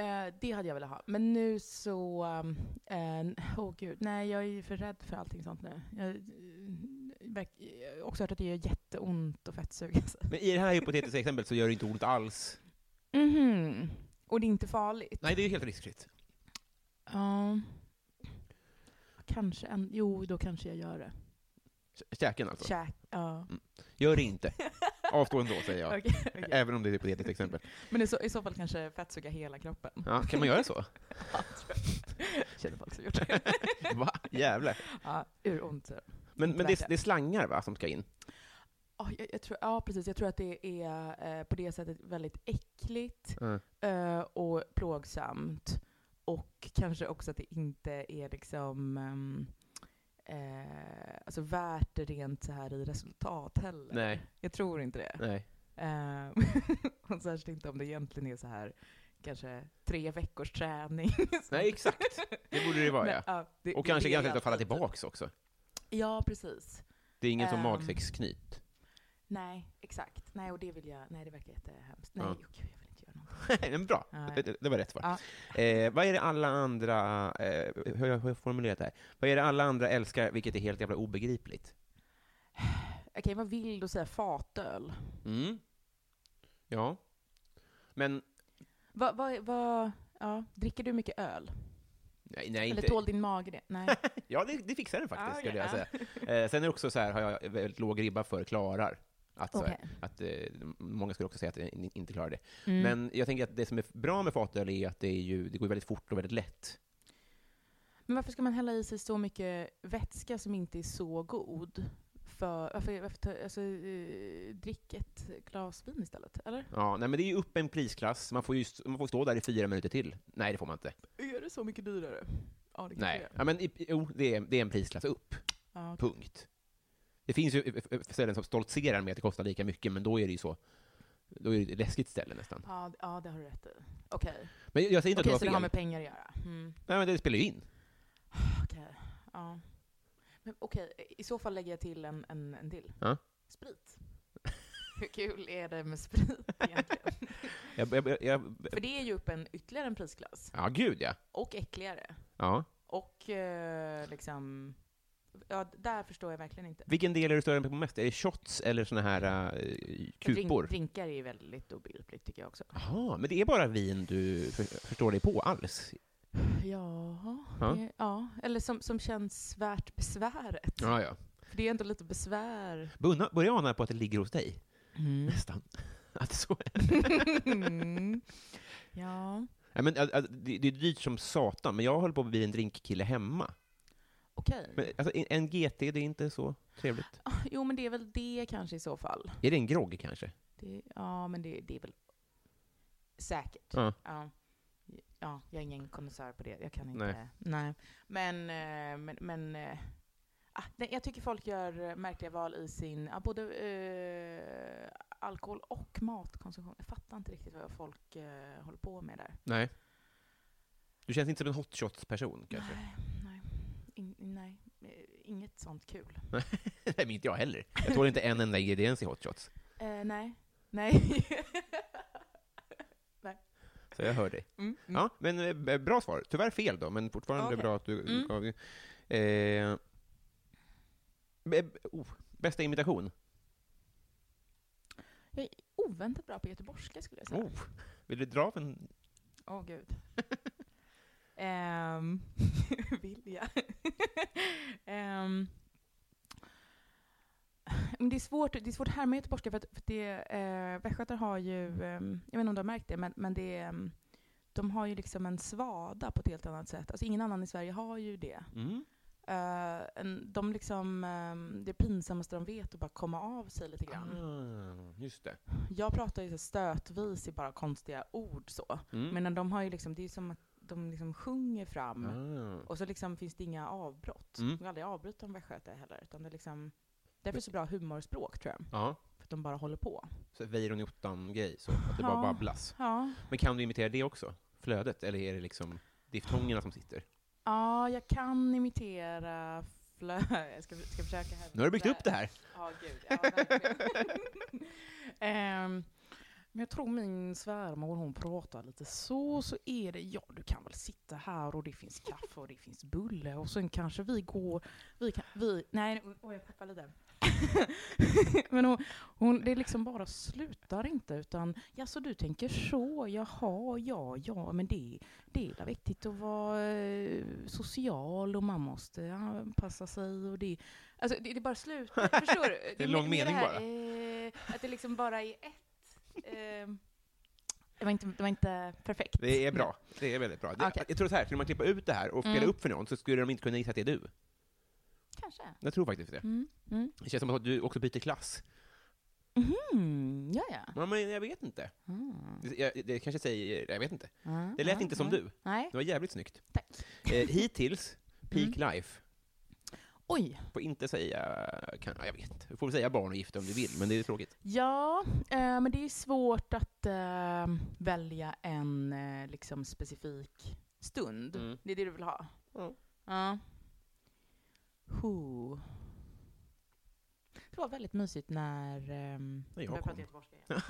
S2: Eh, det hade jag velat ha. Men nu så... um, eh, Åh gud, nej jag är ju för rädd för allting sånt nu. Jag, eh, verk- jag har också hört att det gör jätteont att fettsuga sig.
S1: Men i det här hypotetiska exemplet så gör det inte ont alls.
S2: Mhm. Och det är inte farligt?
S1: Nej, det är helt riskfritt.
S2: Ja. Kanske en... Jo, då kanske jag gör det.
S1: Kä- Käken alltså.
S2: Käk... Ja.
S1: Gör det inte. Avstå ändå, säger jag.
S2: Okej, okej.
S1: Även om det är ett hypotetiskt exempel.
S2: Men i så, i så fall kanske fettsuga hela kroppen.
S1: Ja, kan man göra så?
S2: Känner folk som gjort det.
S1: Va? Jävlar.
S2: Ja, uront.
S1: Men, men det,
S2: Verkligen.
S1: är, det är slangar, va, som ska in?
S2: Ja, jag, jag tror, ja, precis. Jag tror att det är eh, på det sättet väldigt äckligt.
S1: Ja.
S2: eh, och plågsamt. Och kanske också att det inte är liksom ehm, eh, alltså värt det rent så här i resultat heller.
S1: Nej.
S2: Jag tror inte det.
S1: Nej.
S2: Ehm, och särskilt inte om det egentligen är så här kanske tre veckors träning.
S1: Nej, exakt. Det borde det vara,
S2: Men,
S1: ja.
S2: ja, det-
S1: Och
S2: det är
S1: kanske
S2: det
S1: ganska
S2: jag-
S1: lätt att falla tillbaks också.
S2: Ja, precis.
S1: Det är ingen som
S2: Ehm.
S1: magsäcksknyt.
S2: Nej, exakt. Nej, och det vill jag. Nej, det verkar jättehemskt. Nej,
S1: Ja.
S2: oh, gud, jag vill inte göra någonting.
S1: Nej, men bra.
S2: Nej.
S1: Det, det- det var rätt svar. Eh, vad är det alla andra, eh, hur har jag- hur har jag formulerat det här? Vad är det alla andra älskar, vilket är helt jävla obegripligt?
S2: Okej, vad vill du säga? Fatöl?
S1: Mm. Ja. Men,
S2: Vad, vad, vad, ja, dricker du mycket öl?
S1: nej, nej
S2: Eller
S1: inte.
S2: tål din mage det? Nej.
S1: Ja, det, det fixar den faktiskt,
S2: Ah,
S1: skulle jag
S2: okej,
S1: säga. Eh, sen är det också så här, har jag väldigt låg ribba för klarar. Att, så här,
S2: Okej.
S1: att, eh, många skulle också säga att jag in- inte klarar det.
S2: Mm.
S1: Men jag tänker att det som är bra med fatöl är att det, är ju, det går väldigt fort och väldigt lätt.
S2: Men varför ska man hälla i sig så mycket vätska som inte är så god? För, varför, varför ta, alltså, eh, drick ett glas vin istället, eller?
S1: Ja, nej, men det är ju upp en prisklass, man får ju st- man får stå där i fyra minuter till. Nej, det får man inte.
S2: Är det så mycket dyrare? Ja, det kanske det
S1: Nej,
S2: är.
S1: ja, men, i- jo, det är, det är en prisklass upp,
S2: Ja, Ah, okej.
S1: punkt. Det finns ju eh, eh, ställen som stoltserar med att det kostar lika mycket, men då är det ju så, då är det ett läskigt ställe nästan.
S2: ja, d- ja, det har du rätt i. Okej,
S1: Men jag säger inte
S2: Okej,
S1: att
S2: så
S1: det
S2: det har
S1: var fel.
S2: med pengar att göra? Mm.
S1: Nej, men det spelar ju in.
S2: Okej, ja. Men okej, i så fall lägger jag till en, en, en till.
S1: Ja.
S2: Sprit. Hur kul är det med sprit egentligen?
S1: Jag, jag, jag, jag,
S2: För det är ju upp en ytterligare en prisklass.
S1: ja, gud ja.
S2: Och äckligare.
S1: ja.
S2: Och eh, liksom... Ja, d- där förstår jag verkligen inte.
S1: Vilken del är du större på mest? Är det shots eller såna här eh, kupor?
S2: Drink, drinkar är ju väldigt obegripligt tycker jag också.
S1: Jaha, men det är bara vin du för, förstår dig på alls?
S2: Ja,
S1: Ja.
S2: det- ja. eller som, som känns värt besväret.
S1: Ja, ja.
S2: För det är ändå lite besvär.
S1: Bunna, börjar jag ana på att det ligger hos dig?
S2: Mm.
S1: Nästan. Att så är.
S2: Ja,
S1: Nej, men, alltså, det, det är dyrt som satan, men jag håller på att bli en drinkkille hemma.
S2: okej.
S1: Men, alltså, en- en GT, det är inte så trevligt.
S2: Jo, men det är väl det kanske i så fall.
S1: Är det en grogg kanske?
S2: Det, ja, men det, det är väl säkert.
S1: Ja.
S2: Ja. Ja, jag är ingen konnässör på det. Jag kan inte.
S1: Nej.
S2: Nej. Men, eh, men, men eh, ah, nej, jag tycker folk gör eh, märkliga val i sin, ja, både eh, alkohol och matkonsumtion. Jag fattar inte riktigt vad folk eh, håller på med där.
S1: Nej. Du känns inte som en hot shots-person kanske?
S2: Nej, nej. In, nej. Eh, Inget sånt kul.
S1: Nej, men inte jag heller. Jag tål inte en enda ingrediens i hot shots.
S2: Eh, nej. Nej.
S1: Så jag hör dig.
S2: Mm, mm.
S1: Ja, men eh, b- bra svar. Tyvärr fel då, men fortfarande
S2: Okej.
S1: bra att du du
S2: Mm.
S1: gav... Eh, b- b- oh, bästa imitation?
S2: Jag är oväntat bra på göteborgska skulle jag säga.
S1: Oh, vill du dra av en...
S2: Åh gud. um, vill jag? Ehm, men det, är svårt, det är svårt att härma göteborgska för att, för att det, uh, västgötar har ju, ehm, jag vet inte om du har märkt det, men, men det, är, ehm, de har ju liksom en svada på ett helt annat sätt. Alltså ingen annan i Sverige har ju det.
S1: Mm.
S2: Eh, en, de liksom, ehm, det är pinsamt pinsammaste de vet och bara komma av sig lite grann.
S1: Ah, just det.
S2: Jag pratar ju så stötvis i bara konstiga ord så.
S1: Mm.
S2: Men de har ju liksom, det är ju som att de liksom sjunger fram.
S1: Ah.
S2: Och så liksom finns det inga avbrott.
S1: Mm.
S2: De kan aldrig avbryta en västgöte heller. Utan det är liksom, därför är det så bra humorspråk tror jag.
S1: Ja,
S2: För att de bara håller på.
S1: så Weiron i ottan-grej, så att det bara
S2: Ja.
S1: babblas.
S2: Ja,
S1: Men kan du imitera det också? Flödet? Eller är det liksom diftongerna som sitter?
S2: ja jag kan imitera flö... Jag ska, ska försöka här.
S1: Nu har du byggt upp det här!
S2: Ja, gud. Ja, verkligen. Ehm, men jag tror min svärmor, hon pratar lite så, så är det, ja du kan väl sitta här och det finns kaffe och det finns bulle och sen kanske vi går, vi kan, vi, nej, nu- oj jag peppar lite. men hon, hon, det liksom bara slutar inte utan, ja så du tänker så, jaha, ja, ja, men det, det är väl viktigt att vara eh, social och man måste anpassa sig och det, alltså det, det bara slutar, förstår du? Det
S1: en
S2: mer-
S1: lång
S2: mer det
S1: mening
S2: här,
S1: bara.
S2: Eh, att det liksom bara är ett. Eh, det, var inte, det var inte perfekt.
S1: Det är bra. Det är väldigt bra. Det-
S2: Okej.
S1: Jag tror så här, skulle man klippa ut det här och spela
S2: Mm.
S1: upp för någon så skulle de inte kunna gissa att det är du.
S2: Kanske.
S1: Jag tror faktiskt det.
S2: Mm. Mm.
S1: Det känns som att du också byter klass.
S2: Mm. Ja, ja.
S1: Ja, men jag vet inte.
S2: Mm.
S1: Det, jag, det kanske säger, jag vet inte.
S2: Mm,
S1: Det lät
S2: mm,
S1: inte som
S2: mm.
S1: du.
S2: Nej.
S1: Det var jävligt snyggt.
S2: Tack. Mm.
S1: Eh, hittills, peak life.
S2: Oj.
S1: Får inte säga, kan, ja, jag vet inte. Du får väl säga barn och gifta om du vill, men det är tråkigt.
S2: Ja, eh, men det är svårt att eh, välja en eh, liksom specifik stund.
S1: Mm.
S2: Det är det du vill ha?
S1: Ja.
S2: Ja. Huh. Det var väldigt mysigt när... ehm,
S1: När jag
S2: började
S1: kom.
S2: prata göteborgska igen.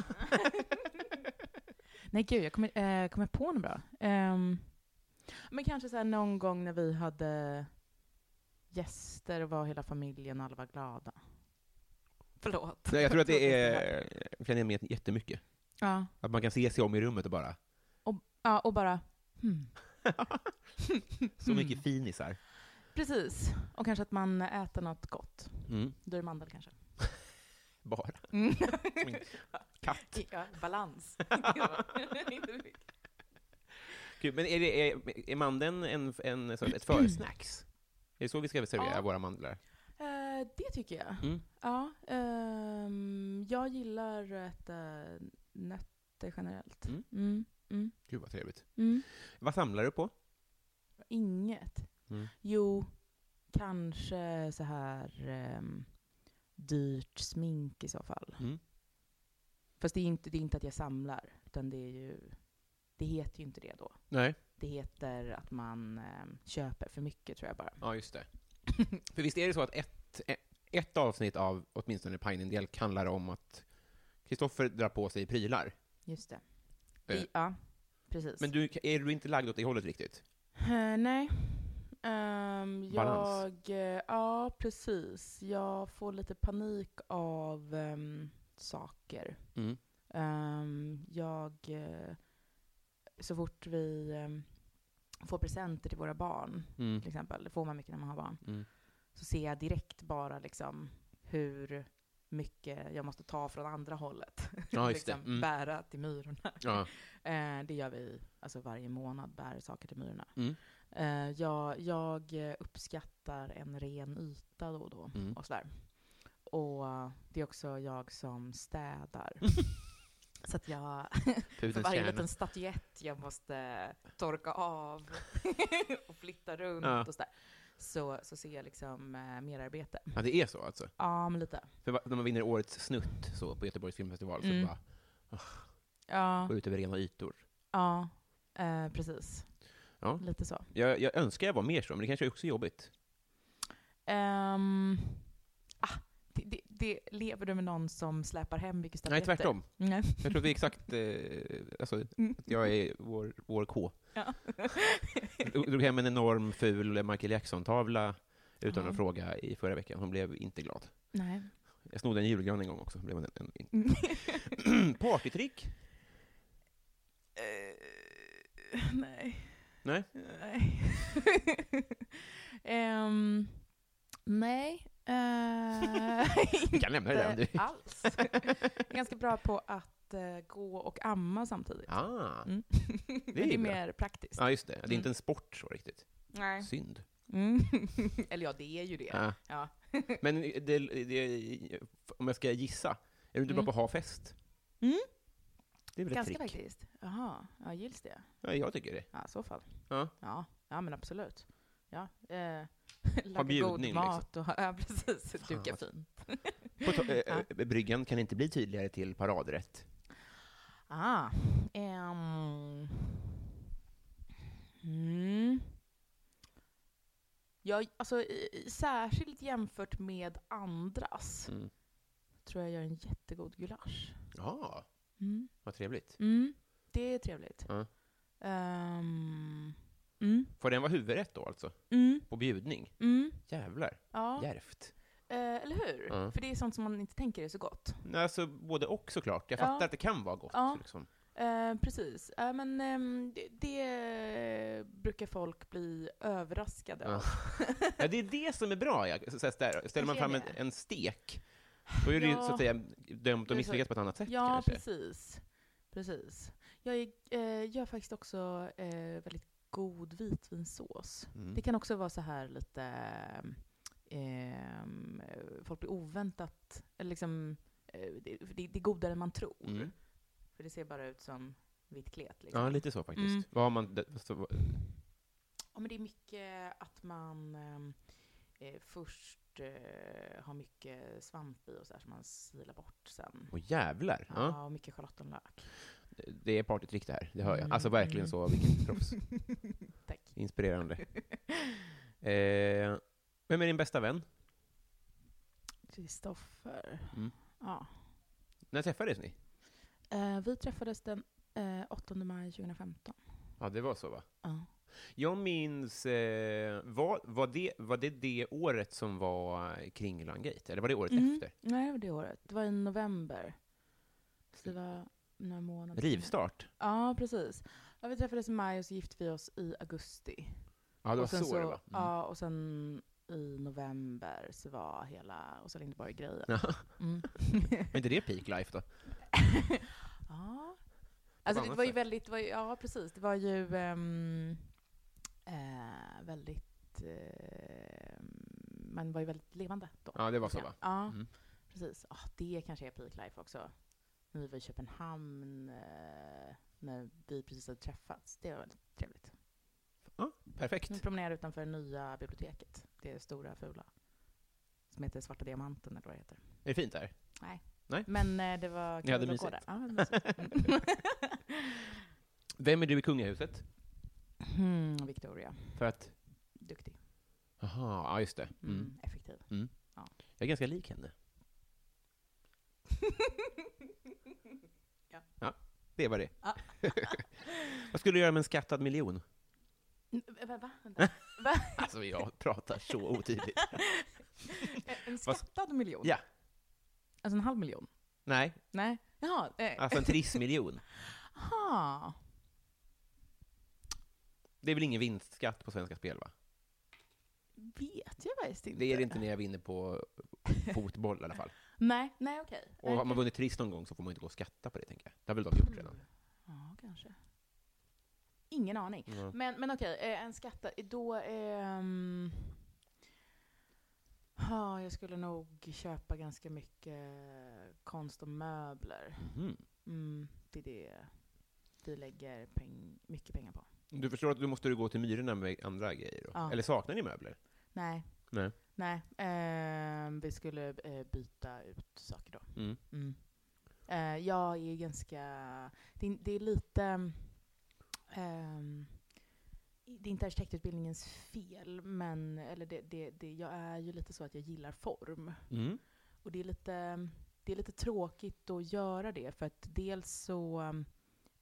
S2: Nej gud, jag kommer, eh, kommer på något bra. Ehm, men kanske så här någon gång när vi hade gäster och var hela familjen och alla var glada. Förlåt.
S1: Nej, jag tror att det
S2: jag
S1: är fenomenet jättemycket.
S2: Ja.
S1: Att man kan se sig om i rummet och bara,
S2: Ja, och bara hmm. Mm.
S1: så mycket finisar.
S2: Precis. Och kanske att man äter något gott.
S1: Mm.
S2: Då är det mandel kanske.
S1: Bara.
S2: Mm.
S1: Som en katt.
S2: Ja, balans.
S1: Kul. Men är, det, är, är mandeln en, en, så- ett försnacks? Är det så vi ska servera
S2: Ja.
S1: våra mandlar?
S2: Eh, det tycker jag.
S1: Mm.
S2: Ja, ehm, jag gillar att äta nötter generellt.
S1: Mm.
S2: Mm, mm,
S1: Gud vad trevligt.
S2: mm.
S1: Vad samlar du på?
S2: Inget.
S1: Mm.
S2: Jo, kanske så här ehm, dyrt smink i så fall.
S1: Mm.
S2: Fast det är, inte, det är inte att jag samlar, utan det är ju... Det heter ju inte det då.
S1: Nej.
S2: Det heter att man ehm, köper för mycket tror jag bara.
S1: Ja, just det. För visst är det så att ett, e, ett avsnitt av åtminstone Pine Delk handlar om att Kristoffer drar på sig prylar.
S2: Just det.
S1: Eh.
S2: I, ja, precis.
S1: Men du, är du inte lagd åt det hållet riktigt?
S2: Eh, nej. Ehm,
S1: Balans.
S2: jag, eh, ja precis. Jag får lite panik av ehm, saker.
S1: Mm.
S2: Ehm, jag, eh, så fort vi ehm, får presenter till våra barn, till exempel, det får man mycket när man har barn,
S1: Mm.
S2: så ser jag direkt bara liksom hur mycket jag måste ta från andra hållet.
S1: Ja, just det.
S2: liksom
S1: Mm.
S2: Bära till myrorna.
S1: Ja.
S2: Eh, det gör vi alltså varje månad, bär saker till myrorna.
S1: Mm.
S2: Eh, jag, jag eh, uppskattar en ren yta då och då.
S1: Mm.
S2: Och, sådär. och eh, det är också jag som städar. Så att jag, för
S1: Pudelns
S2: varje
S1: kärna.
S2: liten statyett jag måste torka av och flytta runt
S1: Ja.
S2: och sådär. Så, så ser jag liksom eh, merarbete.
S1: Ja, det är så alltså.
S2: Ja, men lite.
S1: För va- när man vinner årets snutt så på Göteborgs filmfestival
S2: Mm.
S1: så bara
S2: Ja,
S1: går ut över rena ytor.
S2: ja eh, precis.
S1: Ja.
S2: Lite så.
S1: Jag, jag önskar jag var mer så, men det kanske är också är jobbigt.
S2: Ehm, ah, det, det, det, lever du med någon som släpar hem mycket
S1: Nej,
S2: stabletter?
S1: tvärtom.
S2: Nej.
S1: Jag tror att vi är exakt... Eh, alltså, att jag är vår, vår K.
S2: Ja.
S1: Jag drog hem en enorm ful Michael Jackson-tavla utan
S2: Ja.
S1: att fråga i förra veckan. Hon blev inte glad.
S2: Nej.
S1: Jag snodde en julgran en gång också. Blev en, en, partytrick?
S2: Eh, nej.
S1: Nej.
S2: Nej. Ehm, nej. eh,
S1: Vi kan lämna det där om du
S2: inte alls. Jag är ganska bra på att eh, gå och amma samtidigt.
S1: Ah,
S2: Mm. Men
S1: är
S2: det är
S1: bra.
S2: mer praktiskt.
S1: ja, just det. Det är
S2: Mm.
S1: inte en sport så riktigt.
S2: Nej.
S1: Synd.
S2: Mm. Eller ja, det är ju det. Ja.
S1: Ja. Men det, det, om jag ska gissa, är du inte
S2: Mm.
S1: bra på att ha fest?
S2: Mm.
S1: Det är väl ett
S2: Ganska
S1: trick?
S2: faktiskt. Jaha, ja, gills det?
S1: Ja, jag tycker det.
S2: Ja, i så fall.
S1: Ja.
S2: Ja, ja men absolut. Ja, eh, laga
S1: bjudning,
S2: god
S1: liksom.
S2: mat och ja, precis, duka
S1: vad-
S2: fint.
S1: På to- eh,
S2: Ja.
S1: eh, Bryggan kan inte bli tydligare till paradrätt.
S2: Ah, ehm. mm. Jag, alltså, i- i- särskilt jämfört med andras
S1: Mm.
S2: tror jag gör en jättegod gulasch.
S1: Ja,
S2: Mm.
S1: vad trevligt.
S2: Det är trevligt.
S1: Ja.
S2: Ehm, mm,
S1: Får den vara huvudrätt då alltså?
S2: mm,
S1: På bjudning?
S2: mm,
S1: Jävlar,
S2: ja.
S1: djärvt.
S2: Eh, eller hur?
S1: Ja.
S2: För det är sånt som man inte tänker är så gott.
S1: Nej, alltså både och såklart. Jag
S2: Ja.
S1: fattar att det kan vara gott.
S2: Ja.
S1: Liksom.
S2: Eh, precis. Eh, men ehm, det, det brukar folk bli överraskade
S1: Ja.
S2: av.
S1: Ja, det är det som är bra. Ja. Så, så, där, ställer man
S2: Jag
S1: fram
S2: ser
S1: en,
S2: det.
S1: en stek, då är det ju
S2: Ja.
S1: så att säga dömt
S2: så-
S1: att misslyckas på ett annat sätt
S2: ja,
S1: kanske.
S2: precis. precis. Jag är, eh, gör faktiskt också eh, väldigt god vitvinsås.
S1: Mm.
S2: Det kan också vara så här lite... ehm, eh, folk blir oväntat... Eller liksom, eh, det, det, det är godare än man tror.
S1: Mm.
S2: För det ser bara ut som vitt klet. Liksom.
S1: Ja, lite så faktiskt.
S2: Mm.
S1: Vad har man... det- Så,
S2: Ja, men det är mycket att man ehm, eh, först eh, har mycket svamp i och så här som man silar bort sen.
S1: och jävlar!
S2: Ja,
S1: Ja.
S2: och mycket charlottenlök.
S1: Det är partytrick det här, det hör jag.
S2: Mm.
S1: Alltså verkligen så, vilket proffs.
S2: Tack.
S1: Inspirerande. Eh, vem är din bästa vän?
S2: Kristoffer.
S1: Mm.
S2: Ja.
S1: När träffades ni?
S2: Eh, vi träffades den eh, 8 maj 2015.
S1: Ja, det var så va?
S2: Ja.
S1: Jag minns, eh, var, var, det, var det det året som var Kringlangate? Eller var det året
S2: Mm.
S1: efter?
S2: Nej, det var det året. Det var i november. Så det var några månader.
S1: Rivstart?
S2: Ja, precis. Ja, vi träffades i maj och så gifte vi oss i augusti.
S1: Ja, det var
S2: och sen
S1: så, det var. Mm.
S2: Ja, och sen i november så var hela Åsa Linderborg-grejen.
S1: Ja.
S2: Mm.
S1: Men inte det peak life då?
S2: ja. Alltså det
S1: annat
S2: var ju
S1: sätt.
S2: väldigt, det var ju, ja precis, det var ju ehm, eh, väldigt, ehm, man var ju väldigt levande då.
S1: Ja, det var så
S2: Ja.
S1: va?
S2: Ja,
S1: Mm.
S2: precis. Ah, det kanske är peak life också. När vi var i Köpenhamn, eh, när vi precis hade träffats. Det var väldigt trevligt.
S1: Perfekt.
S2: Vi promenerade utanför nya biblioteket. Det stora fula. Som heter Svarta Diamanten eller vad det heter.
S1: Är det fint där?
S2: Men eh, det var
S1: Ni hade
S2: kul att gå där.
S1: mysigt.
S2: Ja, det var mysigt.
S1: Vem är du i kungahuset?
S2: Mm. Mm, Victoria.
S1: För att...
S2: Duktig.
S1: Jaha, ja just det.
S2: Mm.
S1: Mm.
S2: Effektiv.
S1: Jag är ganska lik henne.
S2: Ja.
S1: det var det.
S2: Ja.
S1: Vad skulle du göra med en skattad miljon?
S2: Mm, Va? va? Vänta. Va?
S1: Alltså jag pratar så otydligt.
S2: En
S1: Vad-
S2: skattad miljon?
S1: Ja.
S2: Alltså en halv miljon?
S1: Nej,
S2: Nej. Jaha. nej.
S1: alltså en trissmiljon.
S2: Aha.
S1: Det är väl ingen vinstskatt på Svenska Spel va?
S2: Vet jag faktiskt inte.
S1: Det är det inte när jag vinner på fotboll i alla fall.
S2: Nej, nej okej. Eh,
S1: Och har man vunnit triss någon gång så får man inte gå och skatta på det tänker jag. Det har väl de gjort redan?
S2: Ja, kanske. Ingen aning.
S1: Mm.
S2: Men, men okej, eh, en skatta. Då... ehm, ja, jag skulle nog köpa ganska mycket konst och möbler.
S1: Mhm.
S2: Mm, det är det vi lägger peng, mycket pengar på.
S1: Du förstår att du måste du gå till Myrorna med andra grejer? Då.
S2: Ja.
S1: Eller saknar ni möbler?
S2: Nej.
S1: Nej.
S2: Nej. ehm, vi skulle eh, byta ut saker då.
S1: Mm.
S2: Mm. Eh, jag är ju ganska... Det är, det är lite... ehm, det är inte arkitektutbildningens fel, men eller det, det, det, jag är ju lite så att jag gillar form.
S1: Mm.
S2: Och det är lite, det är lite tråkigt att göra det, för att dels så...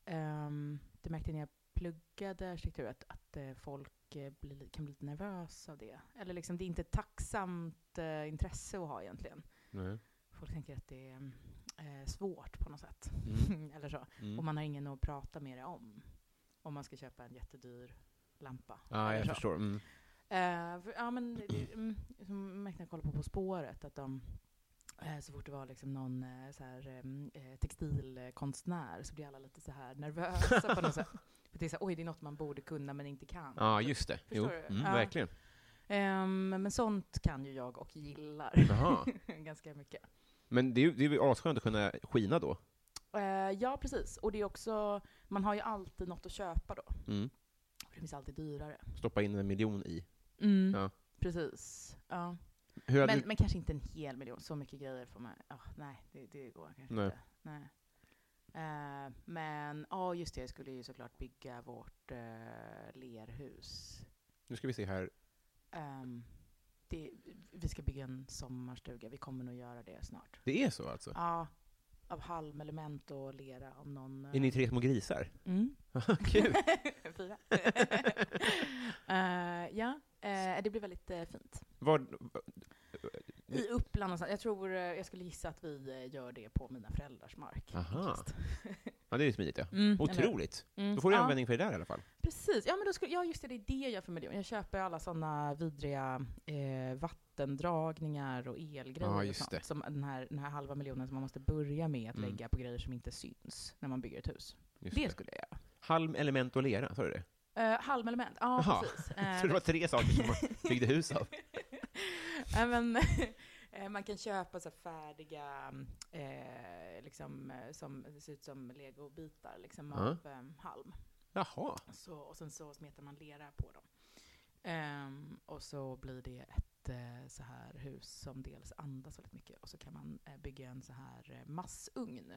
S2: ehm, det märkte jag när jag pluggade arkitektur, att, att eh, folk eh, blir, kan bli lite nervösa av det. Eller liksom, det är inte ett tacksamt eh, intresse att ha egentligen.
S1: Nej.
S2: Folk tänker att det är eh, svårt på något sätt.
S1: Mm.
S2: Eller så. Och
S1: Mm.
S2: man har ingen att prata med det om. Om man ska köpa en jättedyr lampa.
S1: Ja,
S2: eller
S1: jag
S2: så.
S1: förstår. Mm.
S2: Eh, för, ja, men, det- mm, som märkte när jag kollade på På spåret, att de, eh, så fort det var liksom någon eh, så här, em, eh, textilkonstnär så blir alla lite så här nervösa på något sätt. För det är så här, oj, det är något man borde kunna men inte kan.
S1: Ja, just det.
S2: Förstår
S1: jo.
S2: du?
S1: Mm,
S2: Ja.
S1: Verkligen.
S2: Ehm, men sånt kan ju jag och gillar
S1: Jaha.
S2: ganska mycket.
S1: Men det är ju det är ju asskönt att kunna skina då.
S2: Eh, ja, precis. Och det är också, man har ju alltid något att köpa då.
S1: Mm.
S2: Det finns alltid dyrare.
S1: Stoppa in en miljon i. Ja.
S2: Mm. Precis. Ja.
S1: Hur hade
S2: Men,
S1: du...
S2: men kanske inte en hel miljon, så mycket grejer får man... ja, nej, det, det går kanske
S1: Nej.
S2: inte. Nej. Eh, men ja, just det, jag skulle ju såklart bygga vårt eh, lerhus.
S1: Nu ska vi se här.
S2: Ehm, det, vi ska bygga en sommarstuga, vi kommer nog göra det snart.
S1: Det är så alltså?
S2: Ja, av halmelement och lera om någon... eh,
S1: Är ni tre små grisar?
S2: Mm.
S1: Kul!
S2: Fyra. Eh, ja, eh, det blir väldigt eh, fint.
S1: Var...
S2: I
S1: Mm.
S2: Uppland och så. Jag tror, eh, jag skulle gissa att vi eh, gör det på mina föräldrars mark.
S1: Aha.
S2: faktiskt.
S1: Ja, det är ju smidigt ja.
S2: Mm, eller hur?
S1: Otroligt!
S2: Mm.
S1: Då får du
S2: ja,
S1: användning för det där i alla fall.
S2: Precis. Ja, men då skulle, ja, just det, det är det jag gör för miljön. Jag köper alla sådana vidriga eh, vattendragningar och elgrejer
S1: Ja,
S2: och
S1: just
S2: sånt.
S1: det.
S2: Som den, här, den här halva miljonen som man måste börja med att
S1: Mm.
S2: lägga på grejer som inte syns när man bygger ett hus.
S1: Just
S2: Det skulle jag göra.
S1: Halm, element och lera, sa du det?
S2: Uh, halmelement, ja
S1: Jaha.
S2: precis. Eh,
S1: Så det var tre saker som man byggde hus av?
S2: Nej, men, eh, man kan köpa så här färdiga, eh, liksom, eh, som det ser ut som legobitar liksom,
S1: Ja.
S2: av eh, halm.
S1: Jaha.
S2: Så, och sen så smetar man lera på dem. Ehm, och så blir det ett eh, så här hus som dels andas väldigt mycket och så kan man eh, bygga en så här eh, massugn.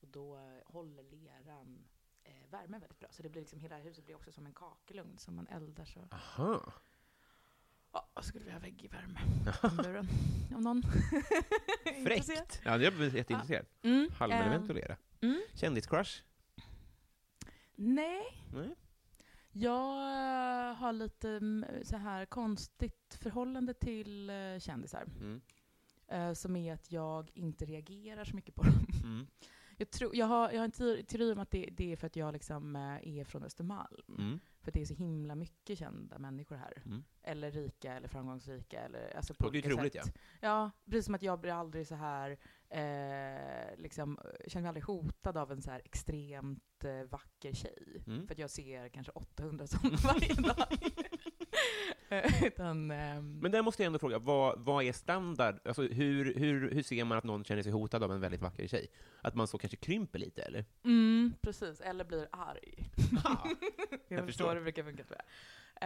S2: Och då eh, håller leran eh, värmen väldigt bra. Så det blir liksom, hela huset blir också som en kakelugn som man eldar så
S1: Aha.
S2: Ja, jag skulle vilja ha vägg i värme. i Buren. Om någon är intresserad.
S1: Fräckt! Ja, jag blir jätteintresserad.
S2: Mm,
S1: Halmelement
S2: ehm,
S1: och lera.
S2: mm.
S1: Kändiscrush?
S2: Nej,
S1: Nej.
S2: jag eh, har lite mm, så här konstigt förhållande till eh, kändisar.
S1: Mm.
S2: eh, Som är att jag inte reagerar så mycket på dem.
S1: Mm.
S2: Jag, tror, jag, har, jag har en te- teori om att det, det är för att jag liksom eh, är från Östermalm.
S1: Mm.
S2: För att det är så himla mycket kända människor här.
S1: Mm.
S2: Eller rika eller framgångsrika. Eller, alltså
S1: Det
S2: på
S1: är ju
S2: olika
S1: otroligt,
S2: sätt. Ja, precis som att jag blir aldrig så här, eh, liksom, eh, känner mig aldrig hotad av en så här extremt eh, vacker tjej.
S1: Mm.
S2: För att jag ser kanske 800 sådana varje dag. Eh, Utan, ehm,
S1: Men där måste jag ändå fråga, vad, vad är standard? Alltså, hur, hur, hur ser man att någon känner sig hotad av en väldigt vacker tjej? Att man så kanske krymper lite, eller?
S2: mm, precis, eller blir arg. Jag,
S1: Ah, Jag
S2: förstår
S1: förstår.
S2: hur det brukar funka tror jag.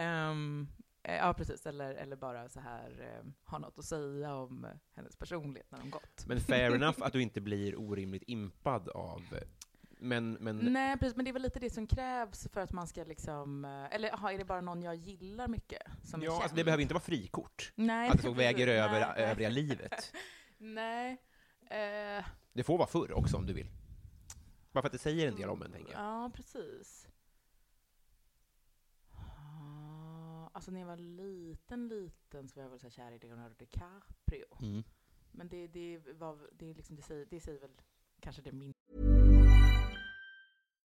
S2: Ehm, eh, ja, precis. Eller, eller bara så här ehm, ha något att säga om eh, hennes personlighet när de gått.
S1: Men fair enough att du inte blir orimligt impad av... Men, men
S2: Nej, precis. Men det är väl lite det som krävs för att man ska liksom... eh, Eller aha, är det bara någon jag gillar mycket som är
S1: ja, alltså,
S2: känd?
S1: det behöver inte vara frikort.
S2: Nej,
S1: Att det så väger
S2: precis.
S1: över eh,
S2: Nej, nej.
S1: övriga livet.
S2: Nej. Eh,
S1: Det får vara förr också, om du vill. Bara för att det säger en del om en, tänker jag.
S2: ja, precis. Ah, Alltså när jag var liten, liten så var jag väl så här kär i Leonardo DiCaprio.
S1: Mm.
S2: Men det, det, var, det, är liksom, det, säger, det säger väl kanske det minsta.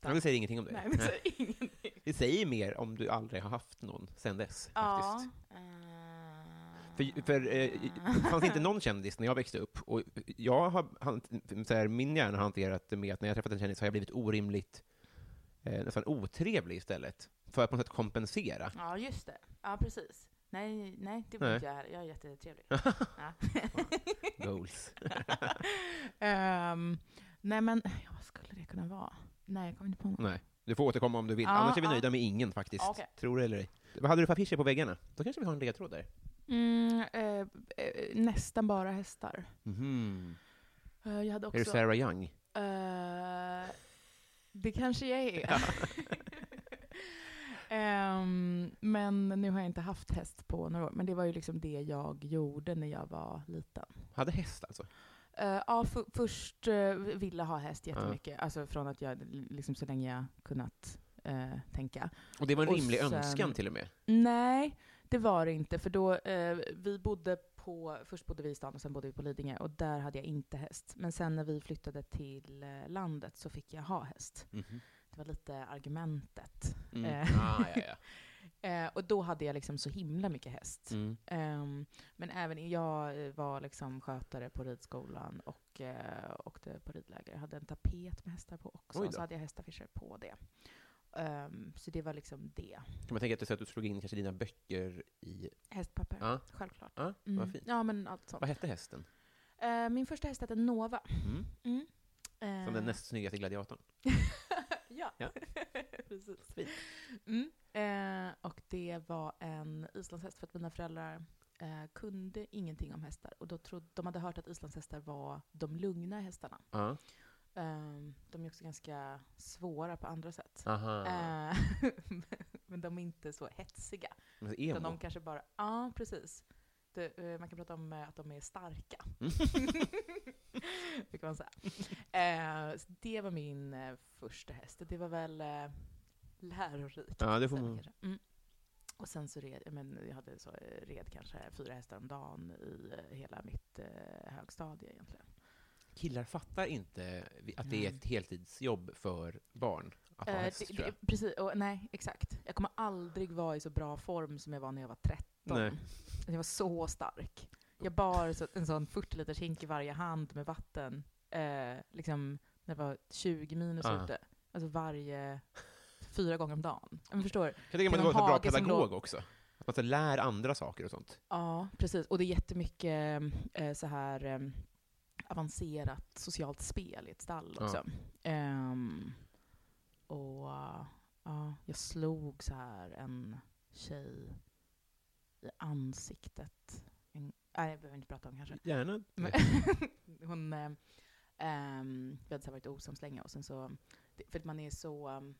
S1: Men det säger ingenting om det.
S2: Nej, men så
S1: Nej.
S2: ingenting.
S1: Det säger mer om du aldrig har haft någon sen dess.
S2: Ja.
S1: Faktiskt. För, för eh, det fanns inte någon kändis när jag växte upp, och jag har, han, så här, min hjärna har hanterat det med att när jag har träffat en kändis har jag blivit orimligt, eh, nästan otrevlig istället, för att på något sätt kompensera.
S2: Ja, just det. Ja, precis. Nej, nej, det blir
S1: Nej.
S2: inte jag här. Jag är jättetrevlig. Ja.
S1: Goals.
S2: Ehm, nej, men ja, vad skulle det kunna vara? Nej, jag kommer inte på något.
S1: Nej. Du får återkomma om du vill,
S2: Ja,
S1: annars är vi
S2: ja.
S1: nöjda med ingen faktiskt.
S2: Ja, okej.
S1: Tror det eller ej. Vad hade du för affischer på väggarna? Då kanske vi har en ledtråd där.
S2: Mm, eh, eh, nästan bara hästar.
S1: Mhm.
S2: Eh, jag hade
S1: Är
S2: också...
S1: du Sarah Young?
S2: Eh, det kanske jag är. Ehm, men nu har jag inte haft häst på några år. Men det var ju liksom det jag gjorde när jag var liten.
S1: Hade häst alltså?
S2: Eh, ja, fu- först eh, ville ha häst jättemycket. Alltså från att jag, liksom så länge jag kunnat eh, tänka.
S1: Och det var en
S2: Och
S1: rimlig
S2: sen-
S1: önskan till och med.
S2: Nej, det var det inte. För då, eh, vi bodde på, först bodde vi i stan och sen bodde vi på Lidingö. Och där hade jag inte häst. Men sen när vi flyttade till eh, landet så fick jag ha häst. Det var lite argumentet.
S1: Mhm. Mm.
S2: Eh.
S1: Ah, ja, ja.
S2: Eh, och då hade jag liksom så himla mycket häst.
S1: Mm.
S2: Ehm, men även jag eh, var liksom skötare på ridskolan och eh, åkte på ridläger. Jag hade en tapet med hästar på också,
S1: Oj
S2: och så
S1: då.
S2: hade jag hästaffischer på det. Ehm, så det var liksom det.
S1: Kan man tänka att du, så att du slog in kanske dina böcker i...
S2: Hästpapper,
S1: Ja.
S2: självklart.
S1: Ah,
S2: Mm.
S1: Vad fint.
S2: Ja, men allt sånt.
S1: Vad hette hästen?
S2: Eh, min första häst hette Nova.
S1: Mm.
S2: Mm.
S1: Som
S2: Eh,
S1: den näst snyggaste gladiatorn.
S2: ja,
S1: Ja.
S2: precis.
S1: Fint.
S2: Mm. Eh, och det var en islandshäst för att mina föräldrar eh, kunde ingenting om hästar. Och då trodde, de hade hört att islandshästar var de lugna hästarna.
S1: Ja.
S2: Eh, de är också ganska svåra på andra sätt.
S1: Aha.
S2: Eh, men de är inte så hetsiga.
S1: Men så
S2: Utan
S1: emo.
S2: de kanske bara, ja precis. Det, eh, man kan prata om eh, att de är starka. det kan man säga. Eh, så det var min eh, första häst. Det var väl eh, lärorikt.
S1: Ja, det får
S2: sen
S1: man-
S2: kanske. Mm. Och sen så red jag, men jag hade så, eh, red kanske fyra hästar om dagen i eh, hela mitt eh, högstadie egentligen.
S1: Killar fattar inte vi- att det är
S2: Nej.
S1: ett heltidsjobb för barn att ha
S2: Mm. Eh,
S1: häst,
S2: det-
S1: tror jag.
S2: det- precis, och, nej exakt. Jag kommer aldrig vara i så bra form som jag var när jag var 13.
S1: Nej.
S2: Jag var så stark. Jag bar så, en sån 40 liters hink i varje hand med vatten, eh, liksom när det var 20 minus
S1: Ah.
S2: ute. Alltså varje, fyra gånger om dagen. Men förstår,
S1: Jag tänker att man
S2: Genom
S1: måste vara en bra
S2: hage som
S1: pedagog
S2: låg-
S1: också. Att man så lär andra saker och sånt.
S2: Ja, precis. Och det är jättemycket eh, så här eh, avancerat socialt spel i ett stall
S1: Ja.
S2: också. Ehm, och ja, jag slog så här en tjej i ansiktet. En, nej, jag behöver inte prata om kanske.
S1: Gärna.
S2: Men- Hon, eh, ehm, vi hade så här varit osams länge och sen så, det- för att man är så ehm,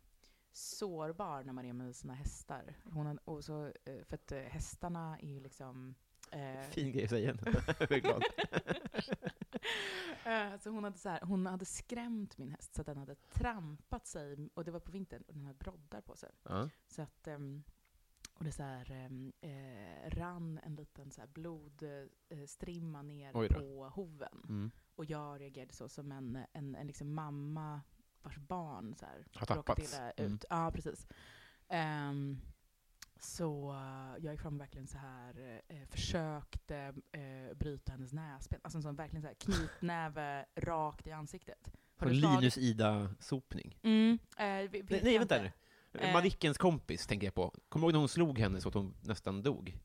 S2: sårbar när man är med sina hästar. Hon, hade- och så, eh, för att eh, hästarna är ju liksom eh,
S1: Fin grej att säga. jag är glad.
S2: Eh, så hon, hade så här, hon hade skrämt min häst så att den hade trampat sig, och det var på vintern, och den hade broddar på sig.
S1: Ja. Mm.
S2: Så att, ehm, och det så här, ehm, eh, rann en liten så här blodstrimma ner
S1: Oj då.
S2: på hoven.
S1: Mm.
S2: Och jag reagerade så som en, en, en liksom mamma vars barn så här,
S1: Har
S2: råkat
S1: tappats.
S2: illa ut.
S1: Mm.
S2: Ja, precis. Ehm, så eh, jag gick fram och verkligen så här, eh, försökte eh, bryta hennes näsben. Alltså en sån verkligen så här knytnäve rakt i ansiktet.
S1: Som Linus Ida-sopning.
S2: Mm, eh, vi-
S1: Nej,
S2: vet
S1: nej,
S2: jag
S1: vänta
S2: inte.
S1: nu.
S2: Eh.
S1: Madickens kompis tänker jag på. Kommer du ihåg när hon slog henne så att hon nästan dog?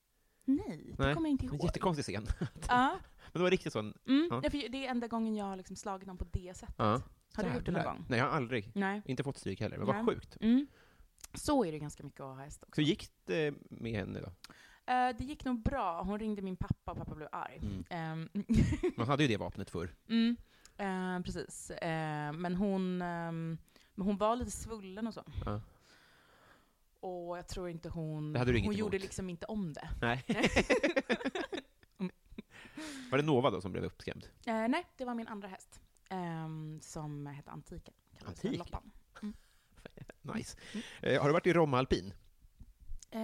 S2: Nej, det
S1: Nej,
S2: kommer jag inte
S1: En
S2: ihåg.
S1: jättekonstig scen.
S2: Ja,
S1: Men det var riktigt sån...
S2: mm,
S1: Ja.
S2: nej, för det är enda gången jag har liksom slagit någon på det sättet.
S1: Ja.
S2: Har du gjort det någon
S1: Jävlar.
S2: gång?
S1: Nej, jag har aldrig.
S2: Nej.
S1: Inte fått stryk heller, men vad
S2: Nej.
S1: sjukt.
S2: Mm. Så är det ganska mycket att ha häst också.
S1: Hur gick det med henne då?
S2: Eh, det gick nog bra. Hon ringde min pappa och pappa blev arg.
S1: Mm.
S2: Ehm,
S1: Man hade ju det vapnet förr.
S2: mm, eh, precis. Eh, men, hon, ehm, men hon var lite svullen och så.
S1: Ja.
S2: Och jag tror inte hon...
S1: Det hade du
S2: hon
S1: inget
S2: gjorde
S1: emot.
S2: liksom inte om det.
S1: Nej. Var det Nova då som blev uppskrämd?
S2: Eh, nej, det var min andra häst. ehm, som hette Antiken. Kallades för
S1: Antiken?
S2: Loppan.
S1: Nice. Eh, har du varit i Bromma alpin?
S2: Eh,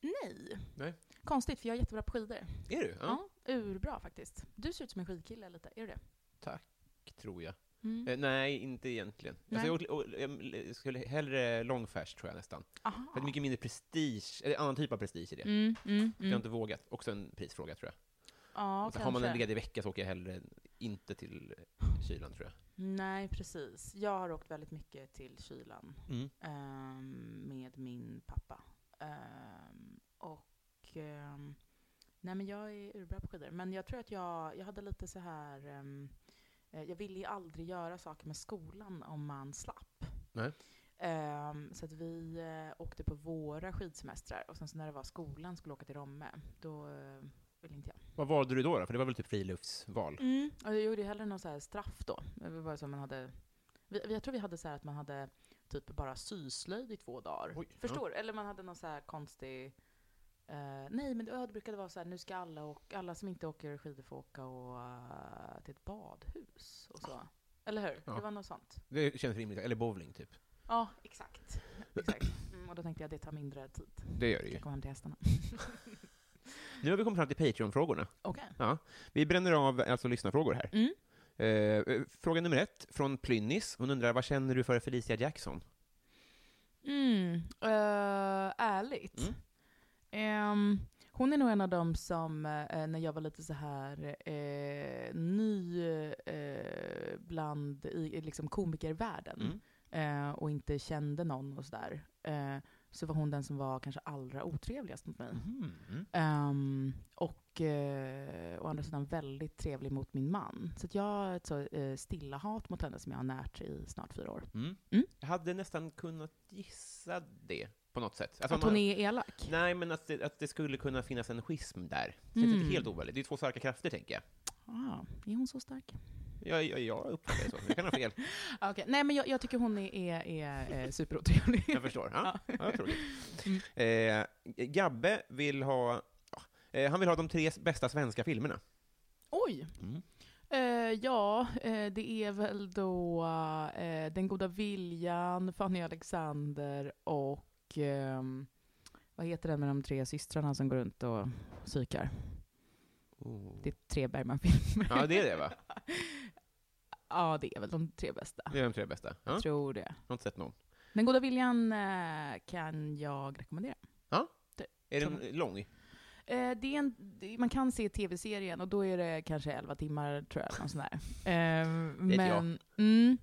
S2: nej.
S1: Nej.
S2: Konstigt, för jag är jättebra på skidor.
S1: Är du?
S2: Ja. urbra faktiskt. Du ser ut som en skidkille lite, är du det?
S1: Tror jag.
S2: Mm.
S1: Eh, nej, inte egentligen. Alltså,
S2: Nej.
S1: jag, åkte- och, jag skulle hellre långfärs, tror jag nästan.
S2: Aha.
S1: För det är mycket mindre prestige, eller annan typ av prestige i det.
S2: Mm, mm,
S1: Jag har
S2: mm.
S1: inte vågat. Också en prisfråga, tror jag.
S2: Ja,
S1: Alltså, har man en
S2: kanske.
S1: ledig vecka så åker jag hellre inte till eh, kylan, tror jag.
S2: Nej, precis. Jag har åkt väldigt mycket till kylan
S1: Mm.
S2: ehm, med min pappa. Ehm, och... ehm, nej, men jag är urbra på skidor. Men jag tror att jag, jag hade lite så här... ehm, eh, jag ville ju aldrig göra saker med skolan om man slapp.
S1: Nej.
S2: Ehm, så att vi eh, åkte på våra skidsemestrar och sen så när det var skolan skulle åka till Romme, då eh, ville inte jag.
S1: Vad valde du då, då? För det var väl typ friluftsval?
S2: Mm. Och jag gjorde ju hellre någon så här straff då. Det var bara så man hade, vi, vi- jag tror vi hade så här att man hade typ bara syslöjd i två dagar.
S1: Oj,
S2: Förstår du? Eller man hade någon så här konstig... eh, nej, men det, ja, det brukade vara så här, nu ska alla, och, alla som inte åker skidor få åka och, eh, till ett badhus och så. Eller hur?
S1: Ja.
S2: Det var något sånt.
S1: Det känns rimligt. Eller bowling, typ.
S2: Ja, exakt. exakt. Mm, och då tänkte jag att det tar mindre tid.
S1: Det gör det
S2: Jag kommer hem till hästarna.
S1: Nu har vi kommit fram till Patreon-frågorna.
S2: Okej.
S1: Vi bränner av alltså lyssnarfrågor här.
S2: Mm.
S1: Eh, fråga nummer ett, från Plynnis. Hon undrar, vad känner du för Felicia Jackson?
S2: Mm, eh, ärligt.
S1: Mm.
S2: Ehm, hon är nog en av dem som, eh, när jag var lite så här eh, ny eh, bland i, i liksom komikervärlden
S1: Mm.
S2: eh, och inte kände någon och sådär, eh, så var hon den som var kanske allra otrevligast mot mig.
S1: Mm.
S2: Ehm, och eh, å andra sidan väldigt trevlig mot min man. Så att jag har ett så eh, stilla hat mot henne som jag har närt i snart fyra år. Mm.
S1: Jag hade nästan kunnat gissa det, på något sätt. Alltså,
S2: Att
S1: man-
S2: hon är elak?
S1: Nej, men att det, att det skulle kunna finnas en schism där. Det känns
S2: Mm.
S1: inte helt oväldigt. Det är två starka krafter, tänker jag.
S2: Ah, är hon så stark?
S1: Jag, jag, jag uppfattar det så. Jag kan ha fel.
S2: Ah, Okej, Nej, men jag, jag tycker hon är, är, är eh, superotrevlig.
S1: Jag förstår. Ja, ja. jag tror
S2: Mm.
S1: det. Eh, Gabbe vill ha... ja, eh, Han vill ha de tre bästa svenska filmerna.
S2: Oj!
S1: Mm.
S2: Eh, ja, eh, det är väl då eh, Den goda viljan, Fanny Alexander och ehm, vad heter den med de tre systrarna som går runt och psykar? Det är tre Bergman-filmer.
S1: Ja, det är det, va?
S2: Ja, det är väl de tre bästa.
S1: Det är de tre bästa. Ja,
S2: Jag
S1: jag
S2: tror det.
S1: har inte sett någon.
S2: Den goda viljan eh, kan jag rekommendera.
S1: Är
S2: Tror
S1: den lång?
S2: Eh, det är en, det- man kan se tv-serien och då är det kanske 11 timmar tror jag. Någon sån där. Eh,
S1: Vet
S2: men mm,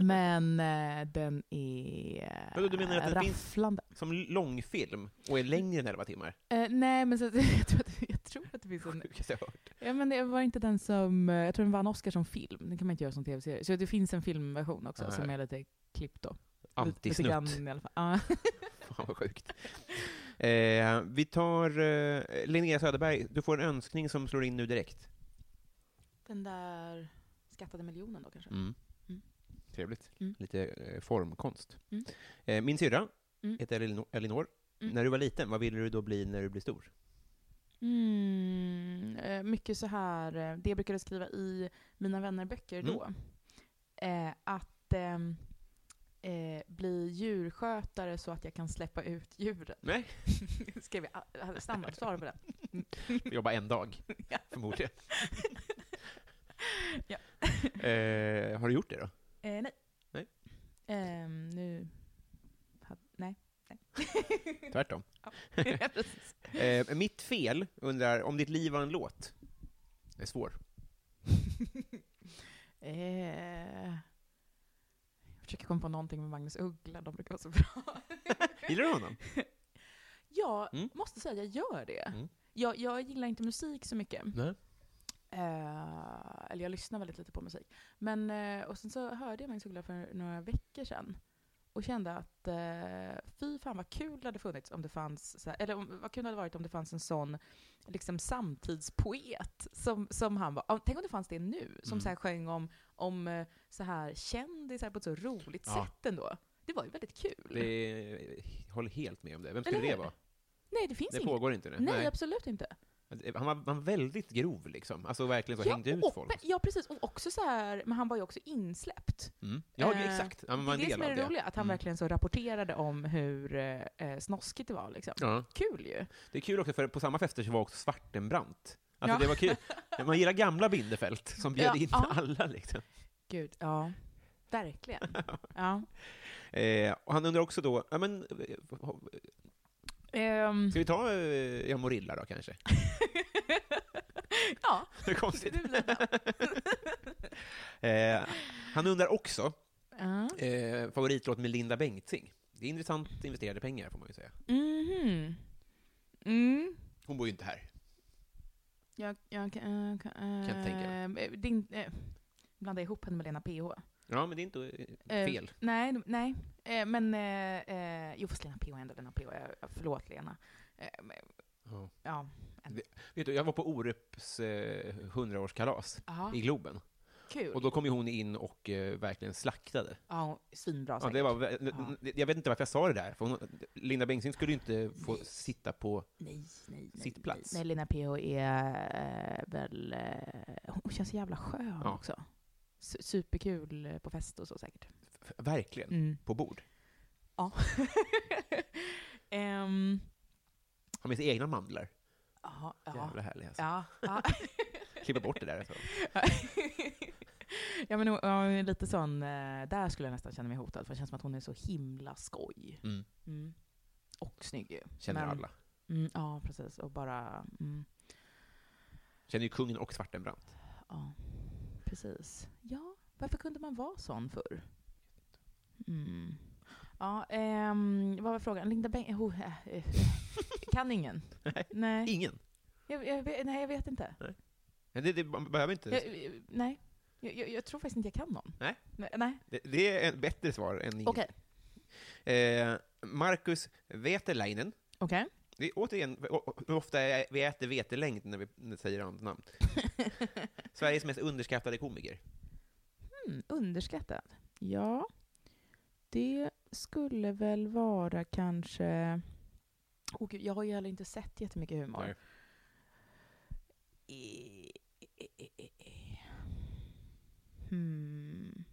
S2: men eh, den är eh,
S1: Vadå, du menar att den finns-
S2: rafflande.
S1: Som långfilm och är längre än 11 timmar?
S2: Eh, nej, men så, att- jag, tror att, jag tror att det finns en...
S1: Sjukaste jag hört.
S2: Ja, men det var inte den som... eh, Jag tror den vann Oscar som film. Den kan man inte göra som tv-serie. Så det finns en filmversion också
S1: Nej.
S2: som är lite klippt då. Lite- lite
S1: Antisnutt.
S2: grann i alla fall. Ja.
S1: Fan vad sjukt. Eh, vi tar eh, Linnea Söderberg, du får en önskning som slår in nu direkt.
S2: Den där skattade miljonen då kanske? Mm.
S1: Trevligt.
S2: Mm.
S1: Lite eh, formkonst.
S2: Mm.
S1: Eh, min syrra
S2: Mm.
S1: heter Elinor. Elinor.
S2: Mm.
S1: När du var liten, vad ville du då bli när du blev stor?
S2: Mm, eh, mycket så här, eh, det jag brukade skriva i mina vännerböcker
S1: Mm.
S2: då. Eh, att ehm, eh, bli djurskötare så att jag kan släppa ut djuren.
S1: Nej.
S2: Skrev jag, jag hade standardsvar på det.
S1: Jobba en dag,
S2: Ja.
S1: förmodligen.
S2: Ja.
S1: eh, har du gjort det då?
S2: Eh, nej.
S1: Nej.
S2: Ehm, nu... hade- nej. nej.
S1: Tvärtom.
S2: Ja, precis.
S1: Eh, mitt fel undrar om ditt liv var en låt? Det är svår.
S2: eh, jag försöker komma på någonting med Magnus Uggla, de brukar vara så bra.
S1: Gillar du honom?
S2: Jag
S1: Mm.
S2: måste säga, jag gör det.
S1: Mm.
S2: Jag, jag gillar inte musik så mycket.
S1: Nej.
S2: Eh, eller jag lyssnar väldigt lite på musik. Men, eh, och sen så hörde jag Magnus Uggla för några veckor sedan. Och kände att eh, fy fan vad kul det hade funnits om det fanns, så här, eller om, vad kul det hade varit om det fanns en sån liksom, samtidspoet som, som han var. Ja, Tänk om det fanns det nu, som
S1: Mm.
S2: så här, sjöng om, om eh, så här, kändisar på ett så roligt
S1: Ja.
S2: sätt ändå. Det var ju väldigt kul.
S1: Det jag håller helt med om det. Vem skulle
S2: Eller
S1: det
S2: hur?
S1: vara?
S2: Nej, det finns
S1: Det
S2: inget.
S1: pågår inte nu.
S2: Nej, absolut inte.
S1: Han var, han var väldigt grov liksom. Alltså verkligen så hängde ut
S2: och,
S1: folk.
S2: Ja, precis. Och också så här, men han var ju också insläppt.
S1: Mm. Ja,
S2: Eh,
S1: exakt. Han
S2: det
S1: var
S2: är
S1: en
S2: det
S1: del
S2: som är det
S1: av det.
S2: roliga, att han
S1: Mm.
S2: verkligen så rapporterade om hur eh, eh, snoskigt det var. Liksom.
S1: Ja.
S2: Kul ju.
S1: Det är kul också, för på samma fester så var också Svartenbrandt. Alltså
S2: Ja.
S1: det var kul. Man gillar gamla Bindefält som
S2: Ja,
S1: bjöd in
S2: ja.
S1: alla liksom.
S2: Gud, ja. Verkligen. Ja.
S1: Eh, och han undrar också då, ja men, eh,
S2: Ehm,
S1: ska vi ta eh, Jag Morilla då kanske?
S2: ja,
S1: Det
S2: det
S1: är konstigt.
S2: blir lite.
S1: Eh, han undrar också,
S2: Ja.
S1: eh, favoritlåt med Linda Bengtzing. Det är intressant investerade pengar får man ju säga.
S2: Mhm. Mm.
S1: Hon bor ju inte här.
S2: Jag, jag kan... eh, kan
S1: Kan tänka
S2: eh, din, eh, blanda ihop henne med Lena PH.
S1: Ja, men det är inte eh,
S2: Eh,
S1: fel.
S2: Nej, de- nej. Eh, men... Eh, eh, jo, fast Lena PH är ändå Lena PH. Jag- Förlåt, Lena. Eh, men-
S1: Ja.
S2: ja.
S1: Vet du, jag var på Orups eh, 100-årskalas
S2: Aha,
S1: i Globen.
S2: kul.
S1: Och då kom ju hon in och eh, verkligen slaktade.
S2: ja, hon- svinbra
S1: Ja,
S2: säkert.
S1: det var, vä-
S2: Ja.
S1: det- Jag vet inte varför jag sa det där. För hon, Linda Bengtzing skulle ju inte få sitta på...
S2: Nej, nej, nej.
S1: Sitt plats.
S2: Nej, Lena PH är eh, väl... Eh, hon känns så jävla skön
S1: Ja.
S2: också. Su- superkul eh, på fest och så säkert.
S1: f- Verkligen.
S2: Mm.
S1: På bord.
S2: Ja. Ehm,
S1: Har med sig egna mandlar.
S2: ja, ja.
S1: Jävla härlig alltså.
S2: Ja, ja.
S1: Klippa bort det där. Alltså.
S2: ja men hon, hon är lite sån, eh, där skulle jag nästan känna mig hotad för det känns som att hon är så himla skoj.
S1: Mm.
S2: Mm. Och snygg ju.
S1: Känner
S2: Men-
S1: alla.
S2: Mm, ja, precis. Och bara, mm,
S1: Känner ju kungen och Svartenbrandt.
S2: ja, precis. Ja, varför kunde man vara sån förr? Mm. Ja, ehm, vad var frågan? Linda Beng... Oh, eh, eh, kan ingen? Nej.
S1: Ingen.
S2: Jag, jag, vet- nej, jag vet inte.
S1: Men Det, det man behöver inte.
S2: Jag, jag- nej. Jag, jag, jag tror faktiskt inte jag kan någon.
S1: Nej.
S2: Nej. nej.
S1: Det, det är ett bättre svar än ingen.
S2: Okej.
S1: Eh, Marcus Vetelainen.
S2: Okej.
S1: Det är återigen o- o- hur ofta är- vi äter vetelängd när vi när vi säger hans namn. Sveriges mest underskattade komiker.
S2: Mm, underskattad. Ja. Det skulle väl vara kanske... Åh gud, jag har ju heller inte sett jättemycket humor.
S1: Nej.
S2: Eh, eh, eh, eh, eh. Hmm.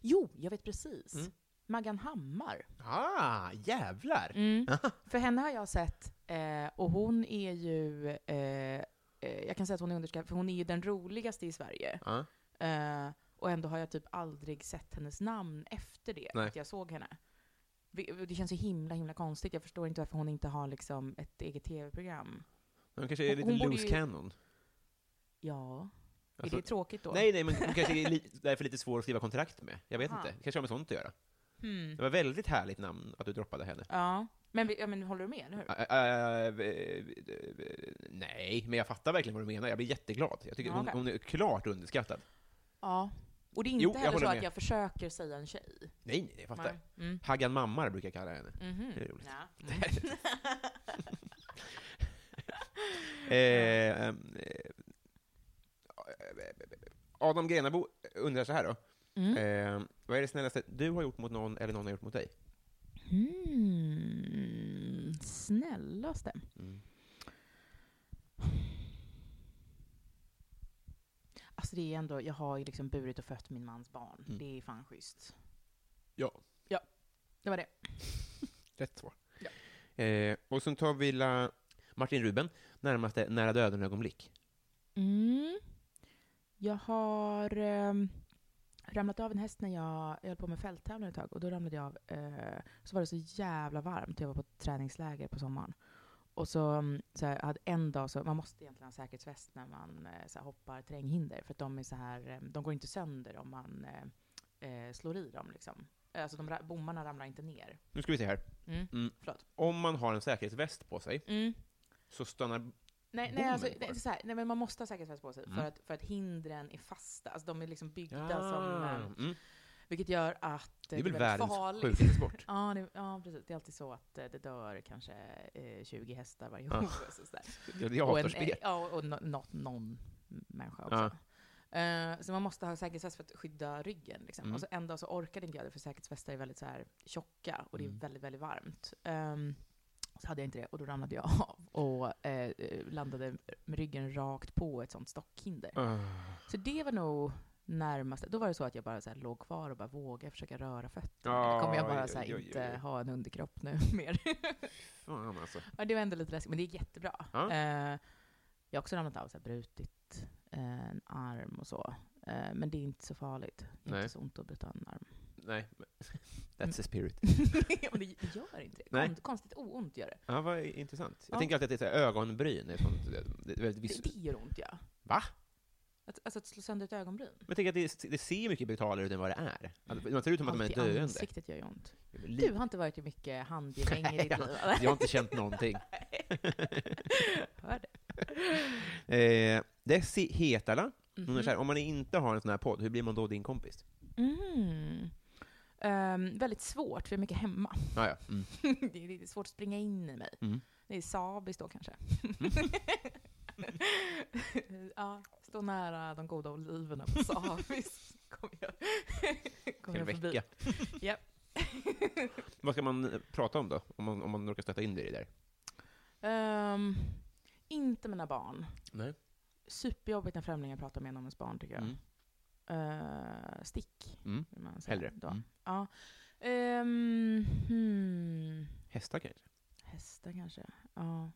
S2: Jo, jag vet precis.
S1: Mm.
S2: Maggan Hammar.
S1: Ah, jävlar!
S2: Mm. För henne har jag sett, eh, och hon är ju... Eh, eh, jag kan säga att hon är underskattad, för hon är ju den roligaste i Sverige.
S1: Ja.
S2: Eh, och ändå har jag typ aldrig sett hennes namn efter det,
S1: Nej.
S2: att jag såg henne. Vi- och Det känns så himla himla konstigt. Jag förstår inte varför hon inte har liksom ett eget tv-program.
S1: Hon kanske är lite
S2: Hon borde
S1: loose
S2: ju-
S1: cannon.
S2: Ja,
S1: Alltså-
S2: är det tråkigt då?
S1: Nej, nej, men hon kanske är li, därför lite svår att skriva kontrakt med. Jag vet
S2: Aha.
S1: inte. Det kanske har med sånt att göra.
S2: Hmm.
S1: Det var väldigt härligt namn att du droppade henne.
S2: Ja. Men, vi- ja, men håller du med, eller hur?
S1: Ä- ä- äh, eh, eh, nej, men jag fattar verkligen vad du menar. Jag blir jätteglad. Jag tycker
S2: Ja,
S1: hon,
S2: okej.
S1: hon är klart underskattad.
S2: Ja. Och det är inte
S1: Jo, jag
S2: heller
S1: håller
S2: så
S1: med.
S2: att jag försöker säga en tjej.
S1: Nej, nej, jag fattar.
S2: Nej. Mm.
S1: Haggan Mammar brukar jag kalla henne.
S2: Mhm.
S1: Det är roligt.
S2: Ja. Mm.
S1: Eh, eh, Adam Grenabo undrar så här då.
S2: Mm.
S1: Eh, vad är det snällaste du har gjort mot någon eller någon har gjort mot dig?
S2: Mm. Snällaste. Alltså det är ändå, jag har ju liksom burit och fött min mans barn.
S1: Mm.
S2: Det är fan schysst.
S1: Ja.
S2: Ja, det var det.
S1: Rätt svar.
S2: Ja.
S1: Eh, och sen tar vi la Martin Ruben, närmaste nära döden-ögonblick.
S2: Mm. Jag har ehm, ramlat av en häst när jag, jag höll på med fälttävlan ett tag. Och då ramlade jag av. Eh, så var det så jävla varmt. Jag var på ett träningsläger på sommaren. Och så, mm, så här, jag hade en dag så, man måste egentligen ha säkerhetsväst när man eh, så här, hoppar terränghinder. För att de är så här, eh, de går inte sönder om man eh, eh, slår i dem liksom. Eh, Alltså de, ra- bommarna ramlar inte ner.
S1: Nu ska vi se här.
S2: Mm.
S1: Mm.
S2: Förlåt.
S1: Om man har en säkerhetsväst på sig så stannar...
S2: Nej, nej,
S1: Bommen
S2: alltså,
S1: kvar.
S2: det är så här, nej, men man måste ha säkerhetsväst på sig
S1: Mm.
S2: för, att, för att hindren är fasta. Alltså, de är liksom byggda som... eh,
S1: mm.
S2: Vilket gör att
S1: Det
S2: eh,
S1: är väl
S2: väldigt
S1: världens
S2: farligt.
S1: sjukaste sport.
S2: Ja, det, ja, precis. Det är alltid så att eh, det dör kanske eh, 20 hästar varje
S1: Ja.
S2: år. och så där.
S1: Jag, jag
S2: Och,
S1: hatar
S2: en,
S1: spel.
S2: eh, ja, och no, nå- någon människa också. Eh, så man måste ha säkerhetsväst för att skydda ryggen. Liksom.
S1: Mm.
S2: Och så en dag så orkade inte jag det, för säkerhetsvästar är väldigt så här, tjocka och det är
S1: Mm.
S2: väldigt, väldigt varmt. Ehm, så hade jag inte det och då ramlade jag av och eh, landade med ryggen rakt på ett sånt stockhinder.
S1: Ah.
S2: Så det var nog närmast. Då var det så att jag bara så här låg kvar och bara vågade försöka röra fötterna.
S1: Ja,
S2: Eller kommer jag bara så här
S1: oj, oj, oj,
S2: inte
S1: oj.
S2: ha en underkropp nu mer?
S1: Fan alltså.
S2: ja, det var ändå lite läskigt, men det gick jättebra.
S1: Ja.
S2: Eh, jag har också ramlat av, så här, brutit eh, en arm och så. Eh, men det är inte så farligt. Det är
S1: Nej.
S2: inte så ont att bryta en arm.
S1: Nej. men- That's the spirit.
S2: Och det det gör inte det.
S1: Nej.
S2: Kon- Konstigt oont gör det.
S1: Ja, vad intressant. Jag
S2: Ja.
S1: tänker alltid att det är så här ögonbryn. Är sånt, det- det är väldigt vis...
S2: Det, det gör ont, ja.
S1: Va?
S2: Att, alltså att slå sönder ett ögonbryn.
S1: Men jag tänker att det, det ser mycket brutalare ut än vad det är. Att man ser ut som att man är
S2: Allt i
S1: döende.
S2: ansiktet gör ju ont.
S1: Li-
S2: Du har inte varit i mycket handgemäng i ditt
S1: Jag-
S2: liv, eller?
S1: Jag har inte känt någonting.
S2: Hör det.
S1: Eh, Desi Hetala Hon
S2: Mhm.
S1: är så här, om man inte har en sån här podd, hur blir man då din kompis?
S2: Mm. Ehm, väldigt svårt, för jag är mycket hemma.
S1: Ah, ja. mm.
S2: det är lite svårt att springa in i mig.
S1: Mm.
S2: Det är sabis då kanske. ja, stå nära de goda oliverna på sabis. Kommer jag, kommer
S1: Till
S2: jag förbi.
S1: vecka.
S2: Japp.
S1: Vad ska man eh, prata om då? Om man, om man råkar stöta in dig i det där?
S2: Ehm, inte mina barn.
S1: Nej.
S2: Superjobbigt när främlingar pratar med en om ens barn tycker jag.
S1: Mm.
S2: Eh, stick.
S1: Mm.
S2: vill man säga
S1: Hellre.
S2: Då.
S1: Mm.
S2: Ja. Ehm, hmm.
S1: Hästar kanske?
S2: Hästar kanske. Ja.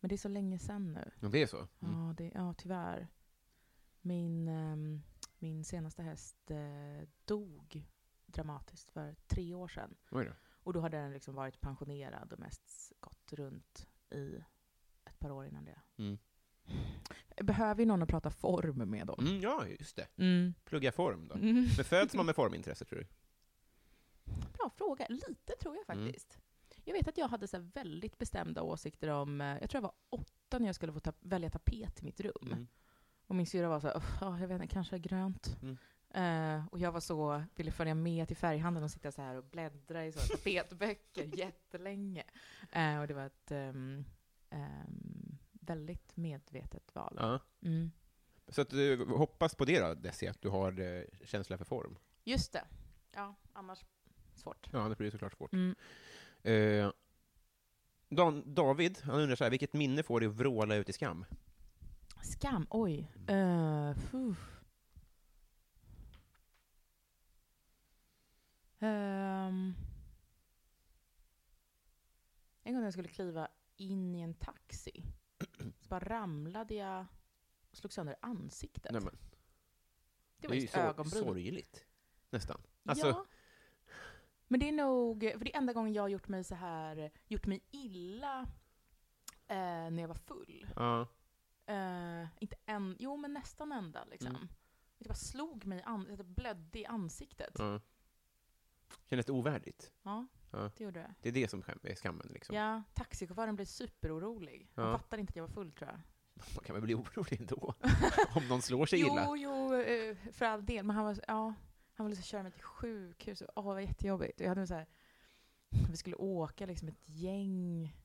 S2: Men det är så länge sedan nu.
S1: Ja, det är så. Mm.
S2: Ja, det, ja tyvärr. Min, ehm, min senaste häst eh, dog dramatiskt för tre år sedan.
S1: Oj då.
S2: Och då hade den liksom varit pensionerad och mest gått runt i ett par år innan det.
S1: Mm.
S2: Jag behöver ju någon att prata form med då.
S1: Mm, ja, just det.
S2: Mm.
S1: Plugga form då.
S2: Mm.
S1: Men föds man med formintresse tror du?
S2: Bra fråga. Lite tror jag
S1: Mm.
S2: faktiskt. Jag vet att jag hade så här väldigt bestämda åsikter om, eh, jag tror jag var åtta när jag skulle få ta- välja tapet i mitt rum.
S1: Mm.
S2: Och min syrra var så här, "Uff, ja, jag vet inte, kanske grönt.
S1: Mm.
S2: Eh, och jag var så, ville följa med till färghandeln och sitta så här och bläddra i så här tapetböcker jättelänge. Eh, och det var ett ehm, ehm, väldigt medvetet val.
S1: Ja.
S2: Mm.
S1: Så att du hoppas på det då, Desi, att du har eh, känsla för form?
S2: Just det. Ja, annars svårt.
S1: Ja, det blir såklart svårt.
S2: Mm.
S1: Eh, Dan, David, han undrar så här, vilket minne får dig att vråla ut i skam?
S2: Skam, oj.
S1: Mm.
S2: Eh, fuh. Ehm. en gång när jag skulle kliva in i en taxi så bara ramlade jag och slog sönder ansiktet.
S1: Nej, men,
S2: det var
S1: är
S2: just
S1: ju sor-
S2: ögonbrynet.
S1: sorgligt, nästan. Alltså,
S2: Ja. Men det är nog, för det är enda gången jag har gjort mig så här, gjort mig illa eh, när jag var full.
S1: ja.
S2: Eh, inte en, jo men nästan ända liksom.
S1: Mm.
S2: Det bara slog mig, an, det blödde i ansiktet. Ja,
S1: ja. Kändes det ovärdigt? Ja.
S2: det gjorde det.
S1: Det är det som skam- är skammen, liksom.
S2: Ja, taxichauffören blev superorolig. Han
S1: Ja.
S2: fattade inte att jag var full tror jag.
S1: Man kan väl bli orolig ändå? Om någon slår sig illa?
S2: Jo, jo, eh, för all del. Men han var, så- ja, han ville så köra mig till sjukhus. Och, åh, det var jättejobbigt. Och jag hade så här, vi skulle åka liksom ett gäng.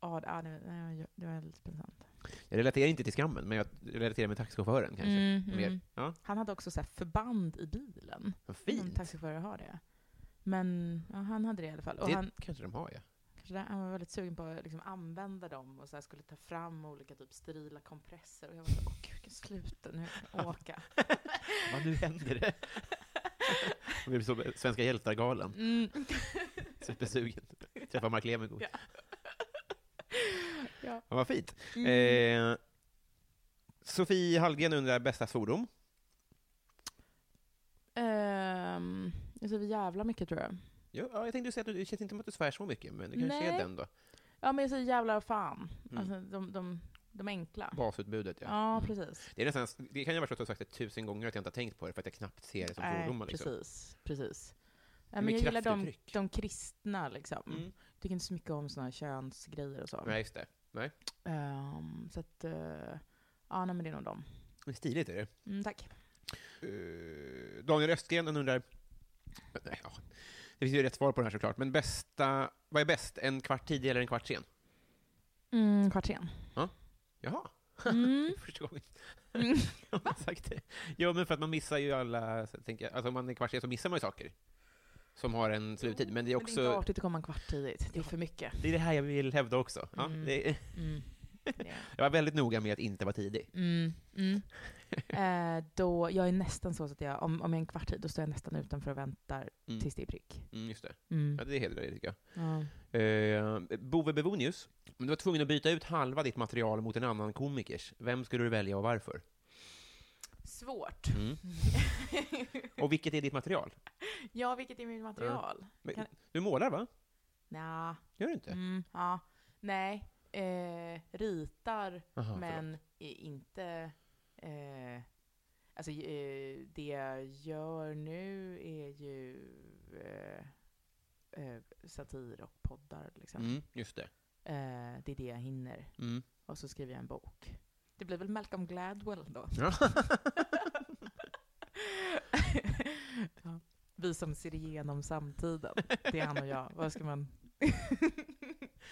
S2: Ja, det, ja, det, nej, det var väldigt pinsamt.
S1: Jag relaterar inte till skammen, men jag relaterar med taxichauffören kanske.
S2: Mm,
S1: Mer.
S2: mm.
S1: Ja,
S2: Han hade också så här förband i bilen.
S1: vad
S2: Någon
S1: fint.
S2: taxichaufför har det. Men ja, han hade det i alla fall. Och
S1: Det
S2: han,
S1: kanske de har, ja.
S2: kanske där, han var väldigt sugen på att liksom använda dem och så här skulle ta fram olika typ sterila kompresser. Och jag var så här, åh gud, sluta nu, åka.
S1: Vad nu händer det? Vi blir som Svenska hjältar-galan.
S2: Mm.
S1: Supersugen. Träffa Mark Levengood.
S2: Ja. Ja.
S1: vad fint.
S2: Mm.
S1: Eh, Sofie Hallgren undrar bästa svordom.
S2: Ehm, jag säger jävla mycket tror jag.
S1: Ja, ja, jag tänkte säga att du, det känns inte som att du svär så mycket, men det kanske är
S2: Nej.
S1: den då.
S2: Ja men jag säger jävla och fan.
S1: Mm.
S2: Alltså de, de, de enkla.
S1: Basutbudet, ja.
S2: Ja, precis.
S1: Det, är nästan, det kan jag förstå att du har sagt det tusen gånger att jag inte har tänkt på det, för att jag knappt ser det som svordomar. Liksom.
S2: precis. precis. Nej,
S1: är
S2: men jag
S1: mer
S2: gillar de,
S1: kraftuttryck.
S2: de kristna liksom.
S1: Mm.
S2: Tycker inte så mycket om såna här könsgrejer och så.
S1: Nej, just det.
S2: Ehm, så att, eh, ja nej, men det är nog dem.
S1: Det är stiligt, är det.
S2: Mm, tack.
S1: Eh, Daniel Östgren han undrar... Nej, ja. Det finns ju rätt svar på det här såklart, men bästa... Vad är bäst? En kvart tidig eller en kvart sen?
S2: Mm, kvart sen.
S1: Jaha,
S2: Mm.
S1: första gången.
S2: Mm.
S1: jag har sagt det. Jo, men för att man missar ju alla... så jag Tänker, alltså om man är kvart sen så missar man ju saker. Som har en sluttid. Men det är
S2: Men det är inte
S1: också...
S2: artigt att komma en kvart tidigt. Det är för mycket.
S1: Det är det här jag vill hävda också. Ja,
S2: Mm.
S1: det,
S2: Mm. Det är-
S1: jag var väldigt noga med att inte vara tidig.
S2: Mm, mm. Eh, då, jag är nästan så att jag, om, om jag är en kvart tid, då står jag nästan utanför och väntar
S1: Mm.
S2: tills det är prick.
S1: Mm, just det.
S2: Mm.
S1: Ja, det hedrar dig, tycker jag.
S2: Ja.
S1: Eh, Bove Bevonius, om du var tvungen att byta ut halva ditt material mot en annan komikers, vem skulle du välja och varför?
S2: Svårt.
S1: Mm. Och vilket är ditt material?
S2: ja, vilket är mitt material? Kan-
S1: Du målar, va?
S2: Nja,
S1: Gör du inte?
S2: mm, ja, nej. Eh, ritar,
S1: Aha, förlåt.
S2: men är inte... Eh, alltså, eh, det jag gör nu är ju eh, eh, satir och poddar. Liksom.
S1: Mm, just det.
S2: Eh, det är det jag hinner.
S1: Mm.
S2: Och så skriver jag en bok. Det blir väl Malcolm Gladwell då.
S1: Ja.
S2: ja. Vi som ser igenom samtiden. Det är han och jag. Vad ska man...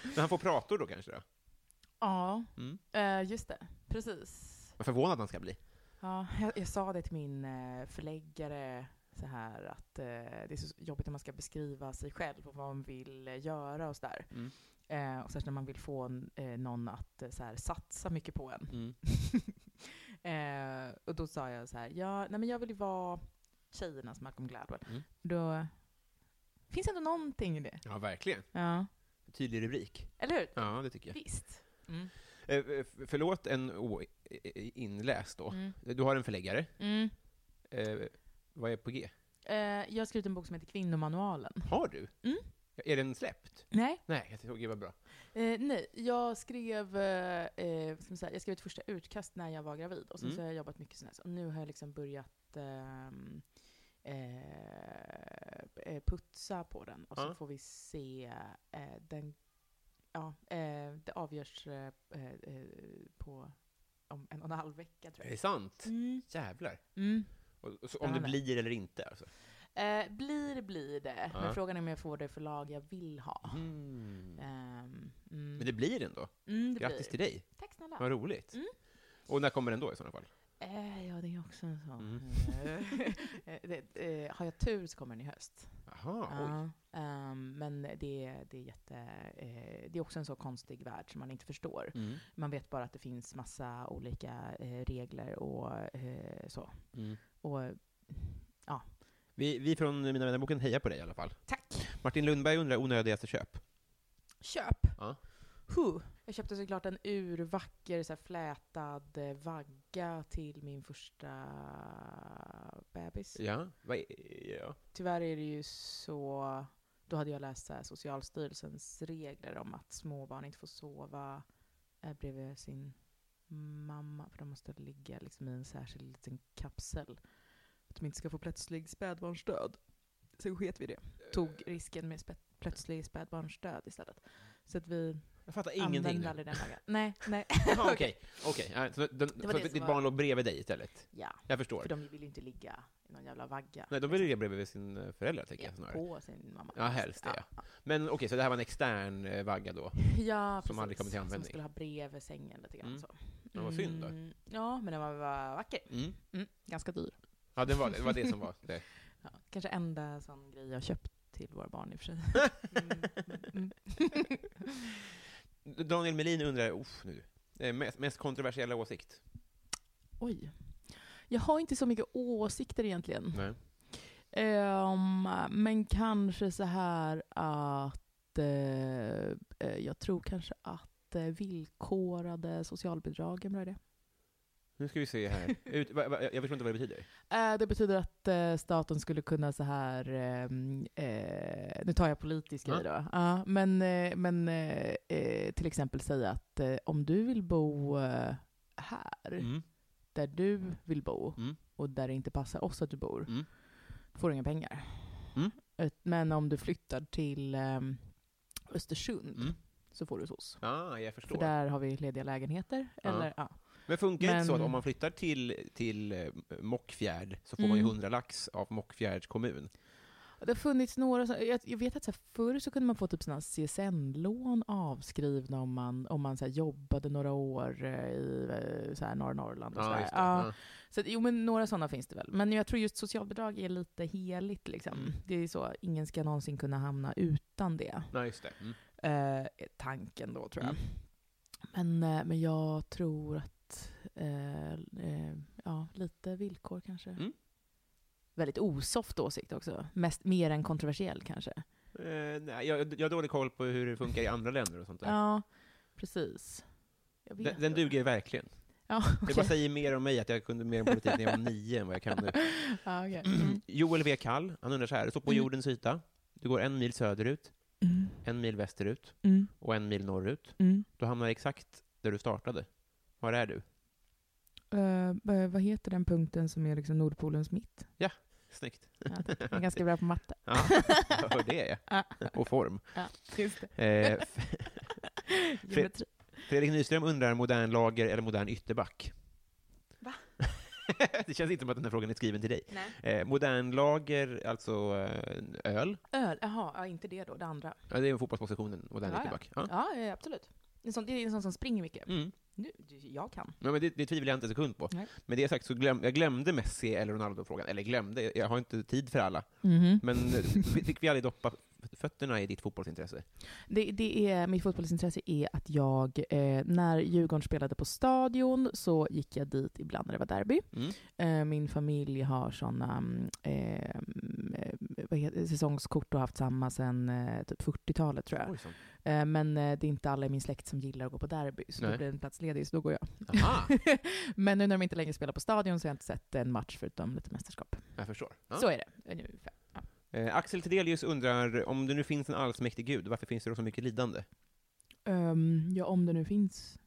S1: Men han får prator då kanske? Då?
S2: ja,
S1: Mm.
S2: eh, just det. Precis.
S1: Vad förvånad han ska bli.
S2: Ja, jag, jag sa det till min eh, förläggare så här att eh, det är så jobbigt när man ska beskriva sig själv och vad man vill eh, göra och sådär.
S1: Mm.
S2: Eh, och särskilt när man vill få en, eh, någon att eh, så här, satsa mycket på en.
S1: Mm.
S2: Eh, och då sa jag så här, ja, nej men jag vill ju vara tjejernas Malcolm Gladwell.
S1: Mm.
S2: Då finns ändå någonting i det.
S1: Ja, verkligen.
S2: Ja.
S1: Tydlig rubrik.
S2: Eller hur?
S1: Ja, det tycker jag.
S2: Visst. Mm.
S1: Eh, f- Förlåt en o- i- i- inläst då.
S2: Mm.
S1: Du har en förläggare.
S2: Mm.
S1: Eh, vad är på G?
S2: Eh, jag har skrivit en bok som heter Kvinnomanualen.
S1: Har du?
S2: Mm.
S1: Är den släppt?
S2: Nej,
S1: Nej, jag tycker det var bra.
S2: Eh, nej, jag skrev, eh, eh, vad ska man säga, jag skrev ett första utkast när jag var gravid. Och sen
S1: Mm.
S2: så har jag jobbat mycket sen dess. Och nu har jag liksom börjat ehm, eh, eh, putsa på den. Och så
S1: Ja.
S2: får vi se. Eh, den, ja, eh, det avgörs eh, eh, eh, på om en och en halv vecka tror
S1: Är det
S2: jag.
S1: sant?
S2: Mm.
S1: Jävlar.
S2: Mm.
S1: Och, och så, om
S2: Spännande.
S1: det blir eller inte alltså.
S2: Eh, blir blir det.
S1: Ja.
S2: Men frågan är om jag får det förlag jag vill ha.
S1: Mm.
S2: Ehm, mm.
S1: Men det blir ändå.
S2: Mm, det
S1: Grattis
S2: blir.
S1: till dig.
S2: Tack snälla.
S1: Vad roligt.
S2: Mm.
S1: Och när kommer den då i sådana fall?
S2: Eh, ja, det är också en sån.
S1: Mm.
S2: Eh, det, eh, har jag tur så kommer den i höst.
S1: Jaha, oj.
S2: Ja, ehm, men det, är- det, är jätte, eh, det är också en så konstig värld som man inte förstår.
S1: Mm.
S2: Man vet bara att det finns massa olika eh, regler och eh, så.
S1: Mm.
S2: Och,
S1: Vi, vi från Mina vännerboken hejar på dig i alla fall.
S2: tack!
S1: Martin Lundberg undrar onödigaste köp.
S2: Köp!
S1: Ja.
S2: Huh. Jag köpte såklart en urvacker så här, flätad eh, vagga till min första bebis.
S1: Ja, vad är, ja.
S2: Tyvärr är det ju så... Då hade jag läst så här, Socialstyrelsens regler om att småbarn inte får sova eh, bredvid sin mamma. För de måste ligga liksom i en särskild liten kapsel. Att de inte ska få plötslig spädbarnsdöd. Så sket vi i det.
S1: Eh.
S2: Tog risken med spä- plötslig spädbarnsdöd istället. Så att vi
S1: Jag fattar ingenting
S2: använde
S1: nu.
S2: aldrig den lagen. Nej, nej.
S1: Jaha, Okej, okej. Ja, så den-
S2: var
S1: så
S2: det som
S1: ditt
S2: var-
S1: barn låg bredvid dig istället?
S2: Ja,
S1: Jag förstår.
S2: för de vill ju inte ligga i någon jävla vagga.
S1: Nej, de vill ligga bredvid sin eh, föräldrar, tänker jag snarare.
S2: på sin mamma.
S1: Ja, helst det, ja. Men okej, så det här var en extern eh, vagga då?
S2: Ja,
S1: Som aldrig kommer till
S2: Som
S1: användning.
S2: skulle ha bredvid sängen lite grann
S1: Mm.
S2: så.
S1: Ja, vad synd då.
S2: Mm, Ja, men den var, var vacker.
S1: Mm.
S2: Ganska dyr.
S1: Ja, det var det, det var det som var det.
S2: Ja, kanske enda sån grej jag köpt till våra barn i och för sig.
S1: Daniel Melin undrar, uff nu, eh, mest, mest kontroversiella åsikt?
S2: Oj. Jag har inte så mycket åsikter egentligen.
S1: Nej.
S2: Ehm, men kanske så här att eh, eh, jag tror kanske att eh, villkorade socialbidrag är en bra idé.
S1: Nu ska vi se här. Ut, va, va, jag förstår inte vad det betyder.
S2: Eh, Det betyder att eh, staten skulle kunna så här, ehm, eh, nu tar jag politisk
S1: Ja.
S2: grej då, Ja, men, eh, men eh, eh, till exempel säga att eh, om du vill bo eh, här,
S1: Mm.
S2: där du vill bo,
S1: Mm.
S2: och där det inte passar oss att du bor,
S1: Mm.
S2: får du inga pengar.
S1: Mm.
S2: Ett- Men om du flyttar till ehm, Östersund
S1: Mm.
S2: så får du hos oss.
S1: Ah, jag
S2: För
S1: förstår.
S2: där har vi lediga lägenheter.
S1: Ja.
S2: Eller, ja.
S1: Men funkar det inte så att
S2: Men-
S1: om man flyttar till, till eh, Mockfjärd så får man ju
S2: Mm.
S1: 100 lax av Mockfjärds kommun?
S2: Det har funnits några, så- jag, jag vet att så här, förr så kunde man få typ såna CSN-lån avskrivna om man, om man så här, jobbade några år eh, i eh, så här, norra Norrland och
S1: Ja,
S2: sådär.
S1: just det.
S2: Ja,
S1: Ja.
S2: så att, jo men några sådana finns det väl. Men jag tror just socialbidrag är lite heligt liksom.
S1: Mm.
S2: Det är så, ingen ska någonsin kunna hamna utan det.
S1: Nej, just det. Mm.
S2: Eh, är tanken då tror jag. Men, eh, men jag tror att, eh, eh, ja lite villkor kanske.
S1: Mm.
S2: Väldigt osoft åsikt också. Mest, mer än kontroversiell kanske.
S1: Eh, nej, jag, jag har dålig koll på hur det funkar i andra länder och sånt där.
S2: Ja, precis. Jag vet
S1: Den, den
S2: inte.
S1: duger verkligen.
S2: Ja,
S1: Det
S2: okej.
S1: bara säger mer om mig att jag kunde mer om politik när jag var nio än vad jag kan nu.
S2: Ja, okej. Mm.
S1: Joel V. Kall, han undrar så här, du står på
S2: Mm.
S1: jordens yta, du går en mil söderut,
S2: Mm.
S1: en mil västerut
S2: Mm.
S1: och en mil norrut.
S2: Mm.
S1: Du hamnar exakt där du startade. Var är du?
S2: Eh, vad- vad heter den punkten som är liksom Nordpolens mitt?
S1: Snyggt.
S2: Ja, tack. jag är ganska bra på matte.
S1: Ja, jag hör det ja. Och form.
S2: Just det.
S1: Eh,
S2: Geometri.
S1: Fredrik Nyström undrar modern lager eller modern ytterback?
S2: Va?
S1: det känns inte som att den här frågan är skriven till dig.
S2: Nej.
S1: Eh, modern lager, alltså eh, öl.
S2: Öl, jaha, ja, inte det då, det andra.
S1: Ja, det är ju fotbollspositionen, modern
S2: Ja, ja.
S1: ytterback. Ja.
S2: Ja, ja, ja absolut. En sån, det är en sån som springer mycket.
S1: Mm.
S2: Nu, jag kan.
S1: Ja, men det, det tvivlar jag inte en sekund på.
S2: Nej.
S1: Men det sagt så glöm, jag glömde Messi eller Ronaldo-frågan. Eller glömde, jag har inte tid för alla. Men eh, fick vi aldrig doppa fötterna i ditt fotbollsintresse?
S2: Det, det är, mitt fotbollsintresse är att jag, eh, när Djurgården spelade på Stadion, så gick jag dit ibland när det var derby.
S1: Mm.
S2: Eh, min familj har såna mm, eh, mm, eh, vad heter, säsongskort och haft samma sedan eh, typ 40-talet tror jag.
S1: Oj, sånt.
S2: Eh, men eh, det är inte alla i min släkt som gillar att gå på derby, så
S1: Nej.
S2: då blir det en plats ledig, så då går jag.
S1: Aha,
S2: men nu när de inte längre spelar på Stadion så har jag inte sett en match förutom lite mästerskap.
S1: jag förstår. Ja.
S2: Så är det. Ungefär.
S1: Eh, Axel Tidelius undrar, om det nu finns en allsmäktig gud, varför finns det då så mycket lidande?
S2: Ehm, ja, om det nu finns.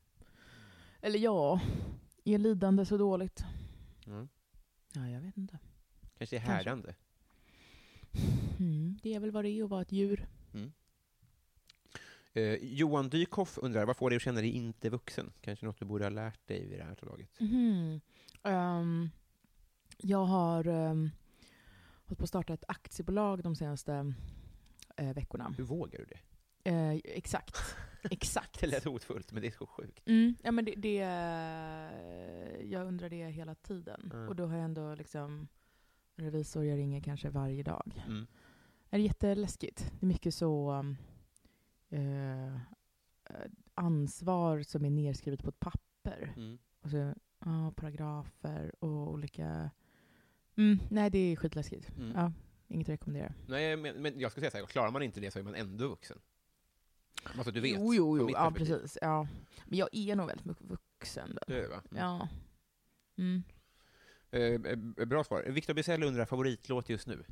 S2: Eller ja, är lidande så dåligt?
S1: Mm.
S2: Ja, jag vet inte.
S1: Kanske är
S2: Kanske.
S1: härdande?
S2: Det är väl vad det är att vara ett djur.
S1: Eh, Johan Dykhoff undrar, vad får dig att känna dig inte vuxen? Kanske något du borde ha lärt dig vid det här laget?
S2: Mm-hmm. Ehm, jag har um, hållit på att starta ett aktiebolag de senaste eh, veckorna.
S1: Hur vågar du det?
S2: Eh, exakt. exakt.
S1: Det lät hotfullt, men det är så sjukt.
S2: Mm, ja, men det, det, eh, jag undrar det hela tiden.
S1: Mm.
S2: Och då har jag ändå liksom en revisor jag ringer kanske varje dag.
S1: Mm.
S2: Det är jätteläskigt. Det är mycket så um, eh, ansvar som är nerskrivet på ett papper.
S1: Mm.
S2: Och så, ja, paragrafer och olika... Mm, nej, det är skitläskigt.
S1: Mm.
S2: Ja, inget att rekommendera.
S1: Nej, men, men jag skulle säga så här, klarar man inte det så är man ändå vuxen. Alltså, du vet.
S2: jo, jo,
S1: från
S2: jo.
S1: mitt
S2: Ja,
S1: perspektiv.
S2: precis. Ja. Men jag är nog väldigt mycket vuxen. Då.
S1: Det är det, va? Mm.
S2: Ja. Mm.
S1: Eh, eh, bra svar. Viktor Bysell undrar, favoritlåt just nu?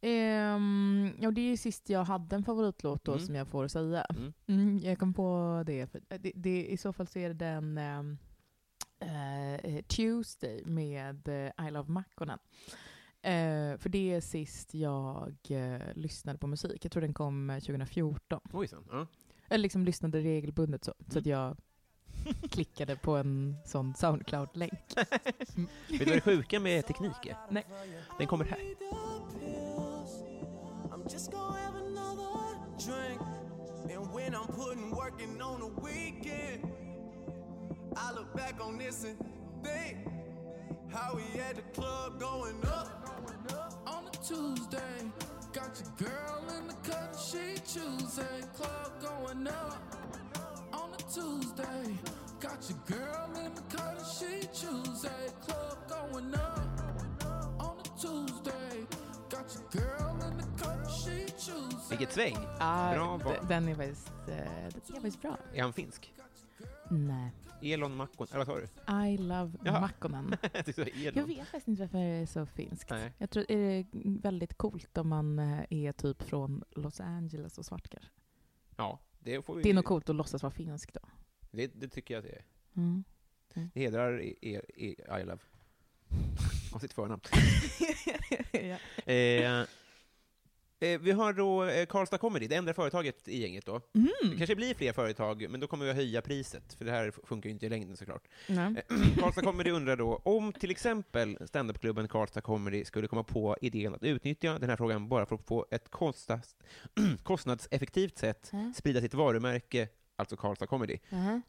S2: Ehm, ja, det är ju sist jag hade en favoritlåt då
S1: Mm.
S2: som jag får säga.
S1: Mm.
S2: Mm. jag kom på det. För eh, det, det. I så fall så är det den ehm, eh, Tuesday med eh, I Love Makkonen. Eh, för det är sist jag eh, lyssnade på musik. Jag tror den kom eh, 2014.
S1: Ojsan. Ja.
S2: Eller liksom lyssnade regelbundet så. Så att
S1: Mm.
S2: jag klickade på en sån Soundcloud-länk.
S1: Vet du vad det sjuka med teknik är?
S2: Nej.
S1: Den kommer här.
S4: I'm just gonna have another drink. And when I'm putting working on the weekend, I look back on this and think how we at the club going up on a Tuesday. Got your girl in the cut, she choosing. Club going up on a Tuesday. Got your girl in the cut, she choosing. Club going up on a Tuesday. Got your girl in the cut, she choosing.
S1: Vilket sväng!
S2: Ah,
S1: Bra
S2: d-
S1: val.
S2: den är faktiskt, eh, den är faktiskt bra.
S1: Är han finsk?
S2: Nej.
S1: Elon Makon... Eller vad sa du?
S2: I love
S1: Jaha.
S2: Makkonen.
S1: Jag tyckte det var
S2: Jag
S1: Elon.
S2: vet faktiskt inte varför det är så finskt.
S1: Nej.
S2: Jag tror det är väldigt coolt om man eh, är typ från Los Angeles och svart kanske.
S1: Ja, det får vi...
S2: Det är nog coolt att låtsas vara finsk då.
S1: Det, det tycker jag att det är.
S2: Mm.
S1: Det hedrar er, er, er I love. Av sitt förnamn.
S2: ja.
S1: Eh, eh, vi har då eh, Karlstad Comedy, det enda företaget i gänget då.
S2: Mm.
S1: Det kanske blir fler företag, men då kommer vi att höja priset, för det här funkar ju inte i längden såklart.
S2: Nej.
S1: Eh, Karlstad Comedy undrar då, om till exempel standupklubben Karlstad Comedy skulle komma på idén att utnyttja den här frågan bara för att på ett kostnads, kostnadseffektivt sätt
S2: Ja.
S1: sprida sitt varumärke, alltså Karlstad Comedy,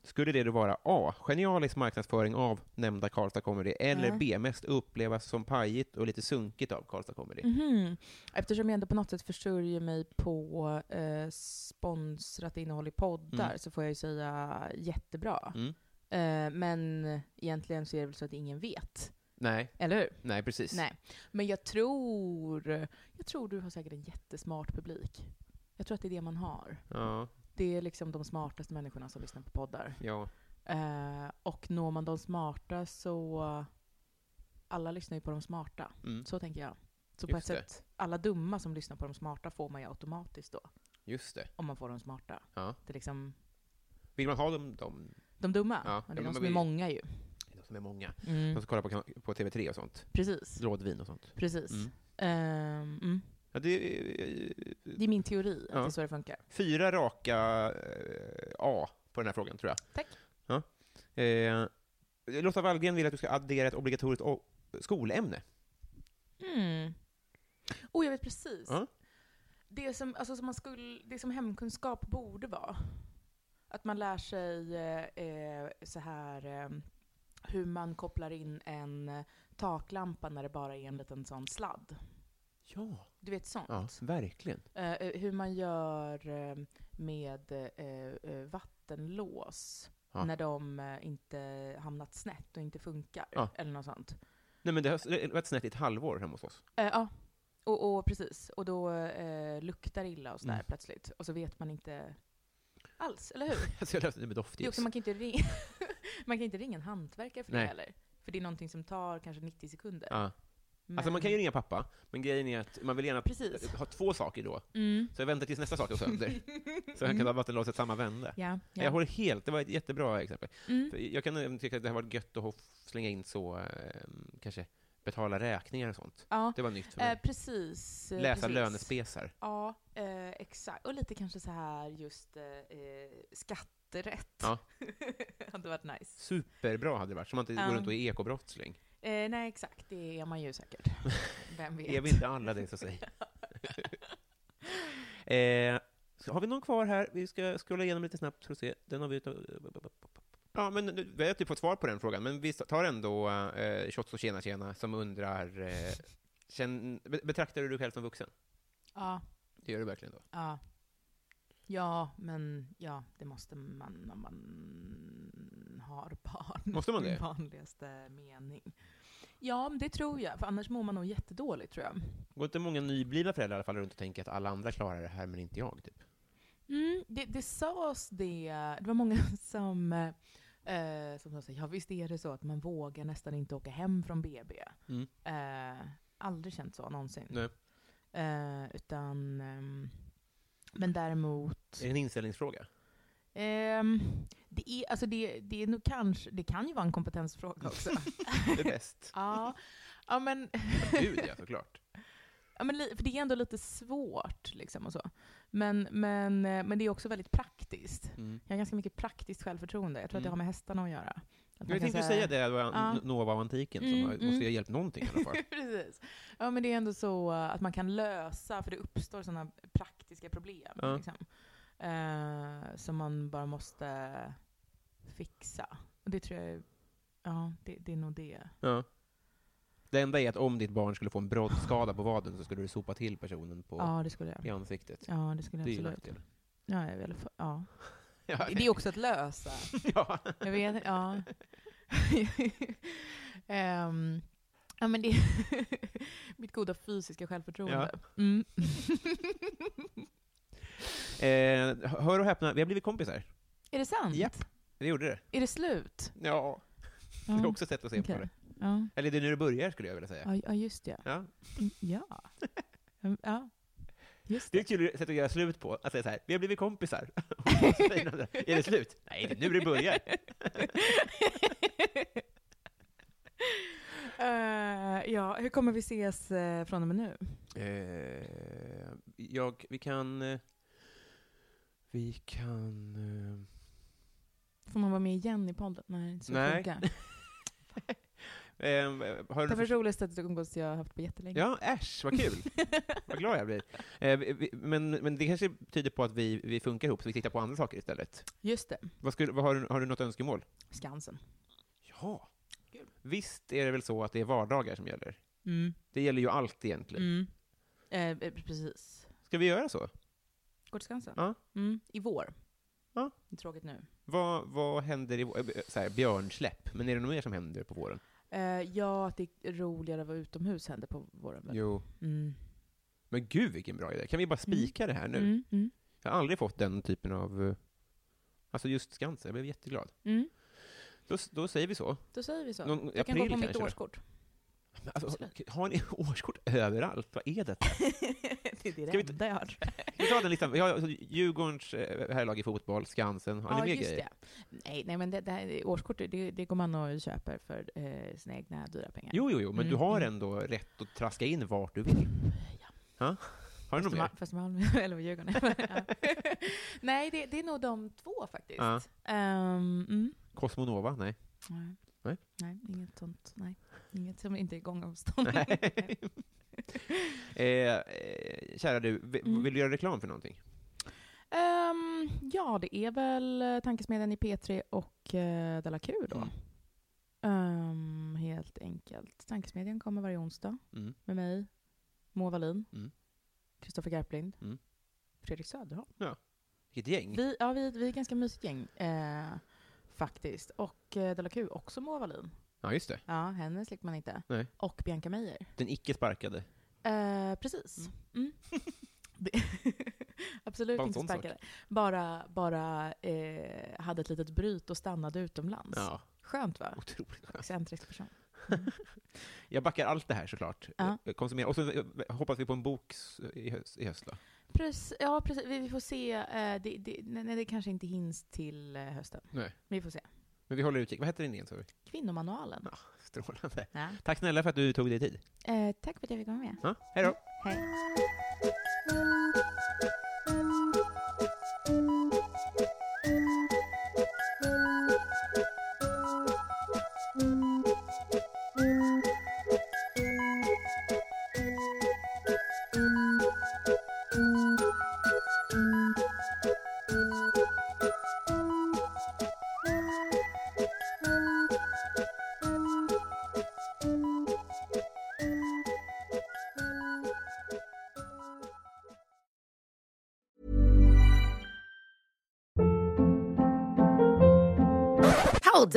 S1: skulle det då vara A. Genialisk marknadsföring av nämnda Karlstad Comedy, eller
S2: Ja.
S1: B. Mest upplevas som pajigt och lite sunkigt av Karlstad Comedy?
S2: Mhm. Eftersom jag ändå på något sätt försörjer mig på eh, sponsrat innehåll i poddar
S1: Mm.
S2: så får jag ju säga jättebra.
S1: Mm.
S2: Eh, men egentligen så är det väl så att ingen vet.
S1: Nej,
S2: Eller hur?
S1: nej precis.
S2: Nej, men jag tror, jag tror du har säkert en jättesmart publik. Jag tror att det är det man har.
S1: Ja,
S2: Det är liksom de smartaste människorna som lyssnar på poddar.
S1: ja.
S2: Eh, och når man de smarta så... Alla lyssnar ju på de smarta.
S1: Mm.
S2: Så tänker jag. Så på ett
S1: Just det.
S2: sätt, alla dumma som lyssnar på de smarta får man ju automatiskt då.
S1: Just det.
S2: Om man får de smarta.
S1: Ja.
S2: Det är liksom
S1: Vill man ha dem, de,
S2: de dumma.
S1: Ja,
S2: men
S1: ja,
S2: det är
S1: men
S2: de som är
S1: vi-
S2: många ju.
S1: de som är många, de
S2: Mm.
S1: som kollar på, kan- på TV3 och sånt,
S2: Precis.
S1: rådvin och sånt?
S2: Precis.
S1: Mm.
S2: Ehm, mm.
S1: Ja, det är eh,
S2: Det är min teori, att
S1: Ja.
S2: det är så det funkar.
S1: fyra raka eh, A på den här frågan, tror jag.
S2: Tack.
S1: Ja. Eh, Lotta Wallgren vill att du ska addera ett obligatoriskt o- skolämne.
S2: Mm. Oh, jag vet precis.
S1: Ja.
S2: Det, som, alltså, som man skulle, det som hemkunskap borde vara, att man lär sig eh, eh, så här eh, hur man kopplar in en eh, taklampa när det bara är en liten sån sladd.
S1: Ja,
S2: Du vet sånt.
S1: ja verkligen.
S2: Eh, eh, hur man gör eh, med eh, eh, vattenlås
S1: Ja.
S2: när de eh, inte hamnat snett och inte funkar.
S1: Ja.
S2: Eller något sånt.
S1: Nej, men det har varit snett i ett halvår hemma hos oss.
S2: Eh, ja, och, och precis. Och då eh, luktar det illa och sådär
S1: Mm.
S2: plötsligt. Och så vet man inte alls, eller hur?
S1: Så jag löste det med
S2: Det är
S1: doftljus.
S2: också, man, kan inte ringa, man kan inte ringa en hantverkare för
S1: Nej.
S2: det heller. För det är någonting som tar kanske 90 sekunder.
S1: Ja. Alltså, man kan ju ringa pappa, men grejen är att man vill gärna
S2: Precis.
S1: ha två saker då.
S2: Mm.
S1: Så jag väntar tills nästa sak är sönder, så han kan ta vattenlåset samma vända.
S2: Ja, ja.
S1: Jag håller helt, det var ett jättebra exempel.
S2: Mm.
S1: För Jag kan även tycka att det har varit gött att ha- slänga in så, eh, kanske betala räkningar och sånt.
S2: ja.
S1: Det var nytt för mig.
S2: Eh, precis. eh,
S1: Läsa
S2: precis.
S1: lönespesar.
S2: Ja, eh, exakt. Och lite kanske så här just eh, eh, skatterätt.
S1: Ja.
S2: hade varit nice.
S1: Superbra hade det vatt, så man inte
S2: Ja.
S1: går runt och är ekobrottsling.
S2: Eh, nej, exakt. Det är man ju säkert. Vem vet?
S1: Är vi inte alla det, så säg. eh, så har vi någon kvar här? Vi ska scrolla igenom lite snabbt för att se. Den har vi... Ja, men nu- vi har typ fått svar på den frågan, men vi tar ändå eh, Shots och Tjena Tjena som undrar, eh, känn, be- betraktar du dig själv som vuxen?
S2: Ja,
S1: Det gör du verkligen då.
S2: ja. Ja, men ja, det måste man när man har barn.
S1: Måste man det?
S2: I vanligaste mening. Ja, men det tror jag. För annars mår man nog jättedåligt tror jag.
S1: Går inte många nyblivna föräldrar i alla fall runt och tänker att alla andra klarar det här, men inte jag? Typ.
S2: Mm, det, det sades det, det var många som, eh, som sa så här, ja visst är det så att man vågar nästan inte åka hem från BB.
S1: Mm.
S2: Eh, aldrig känt så någonsin.
S1: Nej.
S2: Eh, utan, ehm, men däremot,
S1: Är det en inställningsfråga?
S2: ehm, det, är, alltså det, det är nog kanske, det kan ju vara en kompetensfråga också.
S1: Det är bäst.
S2: ja, ja, men,
S1: Gud, ja, såklart.
S2: ja, men li- för det är ändå lite svårt liksom och så. Men, men, eh, men det är också väldigt praktiskt.
S1: Mm.
S2: Jag har ganska mycket praktiskt självförtroende. Jag tror att det
S1: Mm.
S2: har med hästarna att göra. Att man
S1: Jag
S2: kan
S1: tänkte
S2: säga-
S1: säga det, det var
S2: Ja.
S1: Nova och Antiken som
S2: Mm,
S1: har- måste
S2: mm.
S1: ju ha hjälpt någonting i alla fall.
S2: Precis. Ja, men det är ändå så eh, att man kan lösa, för det uppstår sådana praktiska problem
S1: Ja.
S2: liksom, eh, som man bara måste fixa. Och det tror jag är- Ja, det, det är nog det.
S1: Ja. Det enda är att om ditt barn skulle få en broddskada på vaden så skulle du sopa till personen på,
S2: Ja, det skulle jag.
S1: i ansiktet.
S2: Ja, det skulle jag
S1: det är ju
S2: absolut.
S1: nackdelen.
S2: Ja, jag vill, för- ja.
S1: Ja.
S2: Det det är också att lösa.
S1: ja.
S2: Jag vet ja. Ehm, ja men det mitt goda fysiska självförtroende. Mm.
S1: Eh, hör och häpna, vi har blivit kompisar.
S2: är det sant?
S1: Japp. Vi gjorde det.
S2: Är det slut?
S1: Ja.
S2: Ja.
S1: Det är också ett sätt att se på
S2: Okej.
S1: det.
S2: Ja.
S1: Eller det är nu det börjar, skulle jag vilja säga.
S2: Ja, ja, just det.
S1: Ja.
S2: Mm, Ja. Mm, Ja. Just
S1: Det är
S2: det.
S1: ett kul sätt att göra slut på, att säga så här, vi har blivit kompisar. Och så säger den andra, är det slut? Nej, det är nu det börjar.
S2: Eh, ja, hur kommer vi ses eh, från och med nu?
S1: Eh, jag, vi kan... eh, Vi kan... eh,
S2: Får man vara med igen i podden? Nej, inte så
S1: Nej.
S2: funkar.
S1: Eh, har
S2: Det
S1: du
S2: var det roligaste att umgås jag har haft på jättelänge.
S1: Ja, äsch, vad kul! vad glad jag blir. Eh, vi- vi- men, men det kanske tyder på att vi, vi funkar ihop, så vi tittar på andra saker istället.
S2: Just det.
S1: Vad skulle, vad har, du, har du något önskemål?
S2: Skansen.
S1: Ja. Visst är det väl så att det är vardagar som gäller?
S2: Mm.
S1: Det gäller ju allt egentligen.
S2: Mm. Eh, eh, precis.
S1: Ska vi göra så?
S2: Går till Skansen?
S1: Ja.
S2: Mm, I vår.
S1: Ja.
S2: Det är Tråkigt nu.
S1: Vad, vad händer i vår- eh, så här, björnsläpp? Men är det något mer som händer på våren?
S2: Eh, ja, att det är roligare att vara utomhus händer på våren. väl?
S1: Jo.
S2: Mm.
S1: Men gud vilken bra idé. Kan vi bara spika det här nu?
S2: Mm, mm,
S1: Jag har aldrig fått den typen av... eh, Alltså just Skansen, jag blev jätteglad.
S2: mm.
S1: Då, då säger vi så.
S2: Då säger vi så.
S1: Någon,
S2: jag kan gå
S1: april
S2: på mitt
S1: kanske då?
S2: årskort.
S1: Men Alltså, har ni årskort överallt? Vad är det?
S2: det är det
S1: Ska vi ta-
S2: enda jag har.
S1: Vi tar den listan. Vi har alltså Djurgårdens eh, herrlag i fotboll, Skansen. Har
S2: ja,
S1: ni mer
S2: just
S1: grejer?
S2: det. Nej, nej, men det, det här, årskort, det, det går man och köper för eh, sina egna dyra pengar.
S1: Jo, jo, jo, men
S2: Mm,
S1: du har
S2: mm.
S1: ändå rätt att traska in vart du vill. Har du något mer?
S2: Östermal- Östermalm eller vad, Djurgården. Ja. Nej, det, det är nog de två faktiskt.
S1: Ja.
S2: Ehm, mm.
S1: Cosmonova? Nej.
S2: Nej.
S1: Nej.
S2: Nej, inget sånt. Nej. Inget som inte är gångavstånd. Nej.
S1: Eh, eh, kära du, vi-
S2: Mm.
S1: vill du göra reklam för någonting?
S2: Ehm, ja, det är väl eh, Tankesmedjan i P3 och uh, Della Q då.
S1: Mm.
S2: Ehm, helt enkelt. Tankesmedjan kommer varje onsdag
S1: Mm.
S2: med mig, Moa Wallin,
S1: Mm.
S2: Kristoffer Garplind,
S1: Mm.
S2: Fredrik Söderholm.
S1: Vilket gäng!
S2: Vi, ja, vi, vi är ett ganska mysigt gäng eh, faktiskt. Och uh, Della Q, också Moa Wallin.
S1: Ja, just det.
S2: Ja, henne slipper man inte.
S1: Nej.
S2: Och Bianca Meijer.
S1: Den icke sparkade.
S2: Eh, precis. Mm. Det- Absolut
S1: Bara en
S2: inte
S1: sån sak.
S2: sparkade. Bara, bara eh, hade ett litet bryt och stannade utomlands.
S1: Ja,
S2: Skönt va?
S1: otroligt.
S2: Excentrisk person.
S1: Jag backar allt det här såklart.
S2: Ja.
S1: Jag konsumerar. Och så eh, hoppas vi på en bok s- i höst. I höst då.
S2: Prec- ja, precis. Vi, vi får se. Eh, det, det, nej, nej, det kanske inte hinns till eh, hösten.
S1: Nej.
S2: Vi får se.
S1: Men vi håller utkik. Vad heter den igen? sa vi?
S2: Kvinnomanualen.
S1: Ja. Strålande.
S2: Ja.
S1: Tack snälla för att du tog dig tid.
S2: Eh, tack för att jag fick vara med.
S1: Ja, hej då!
S2: Hej.
S5: Hold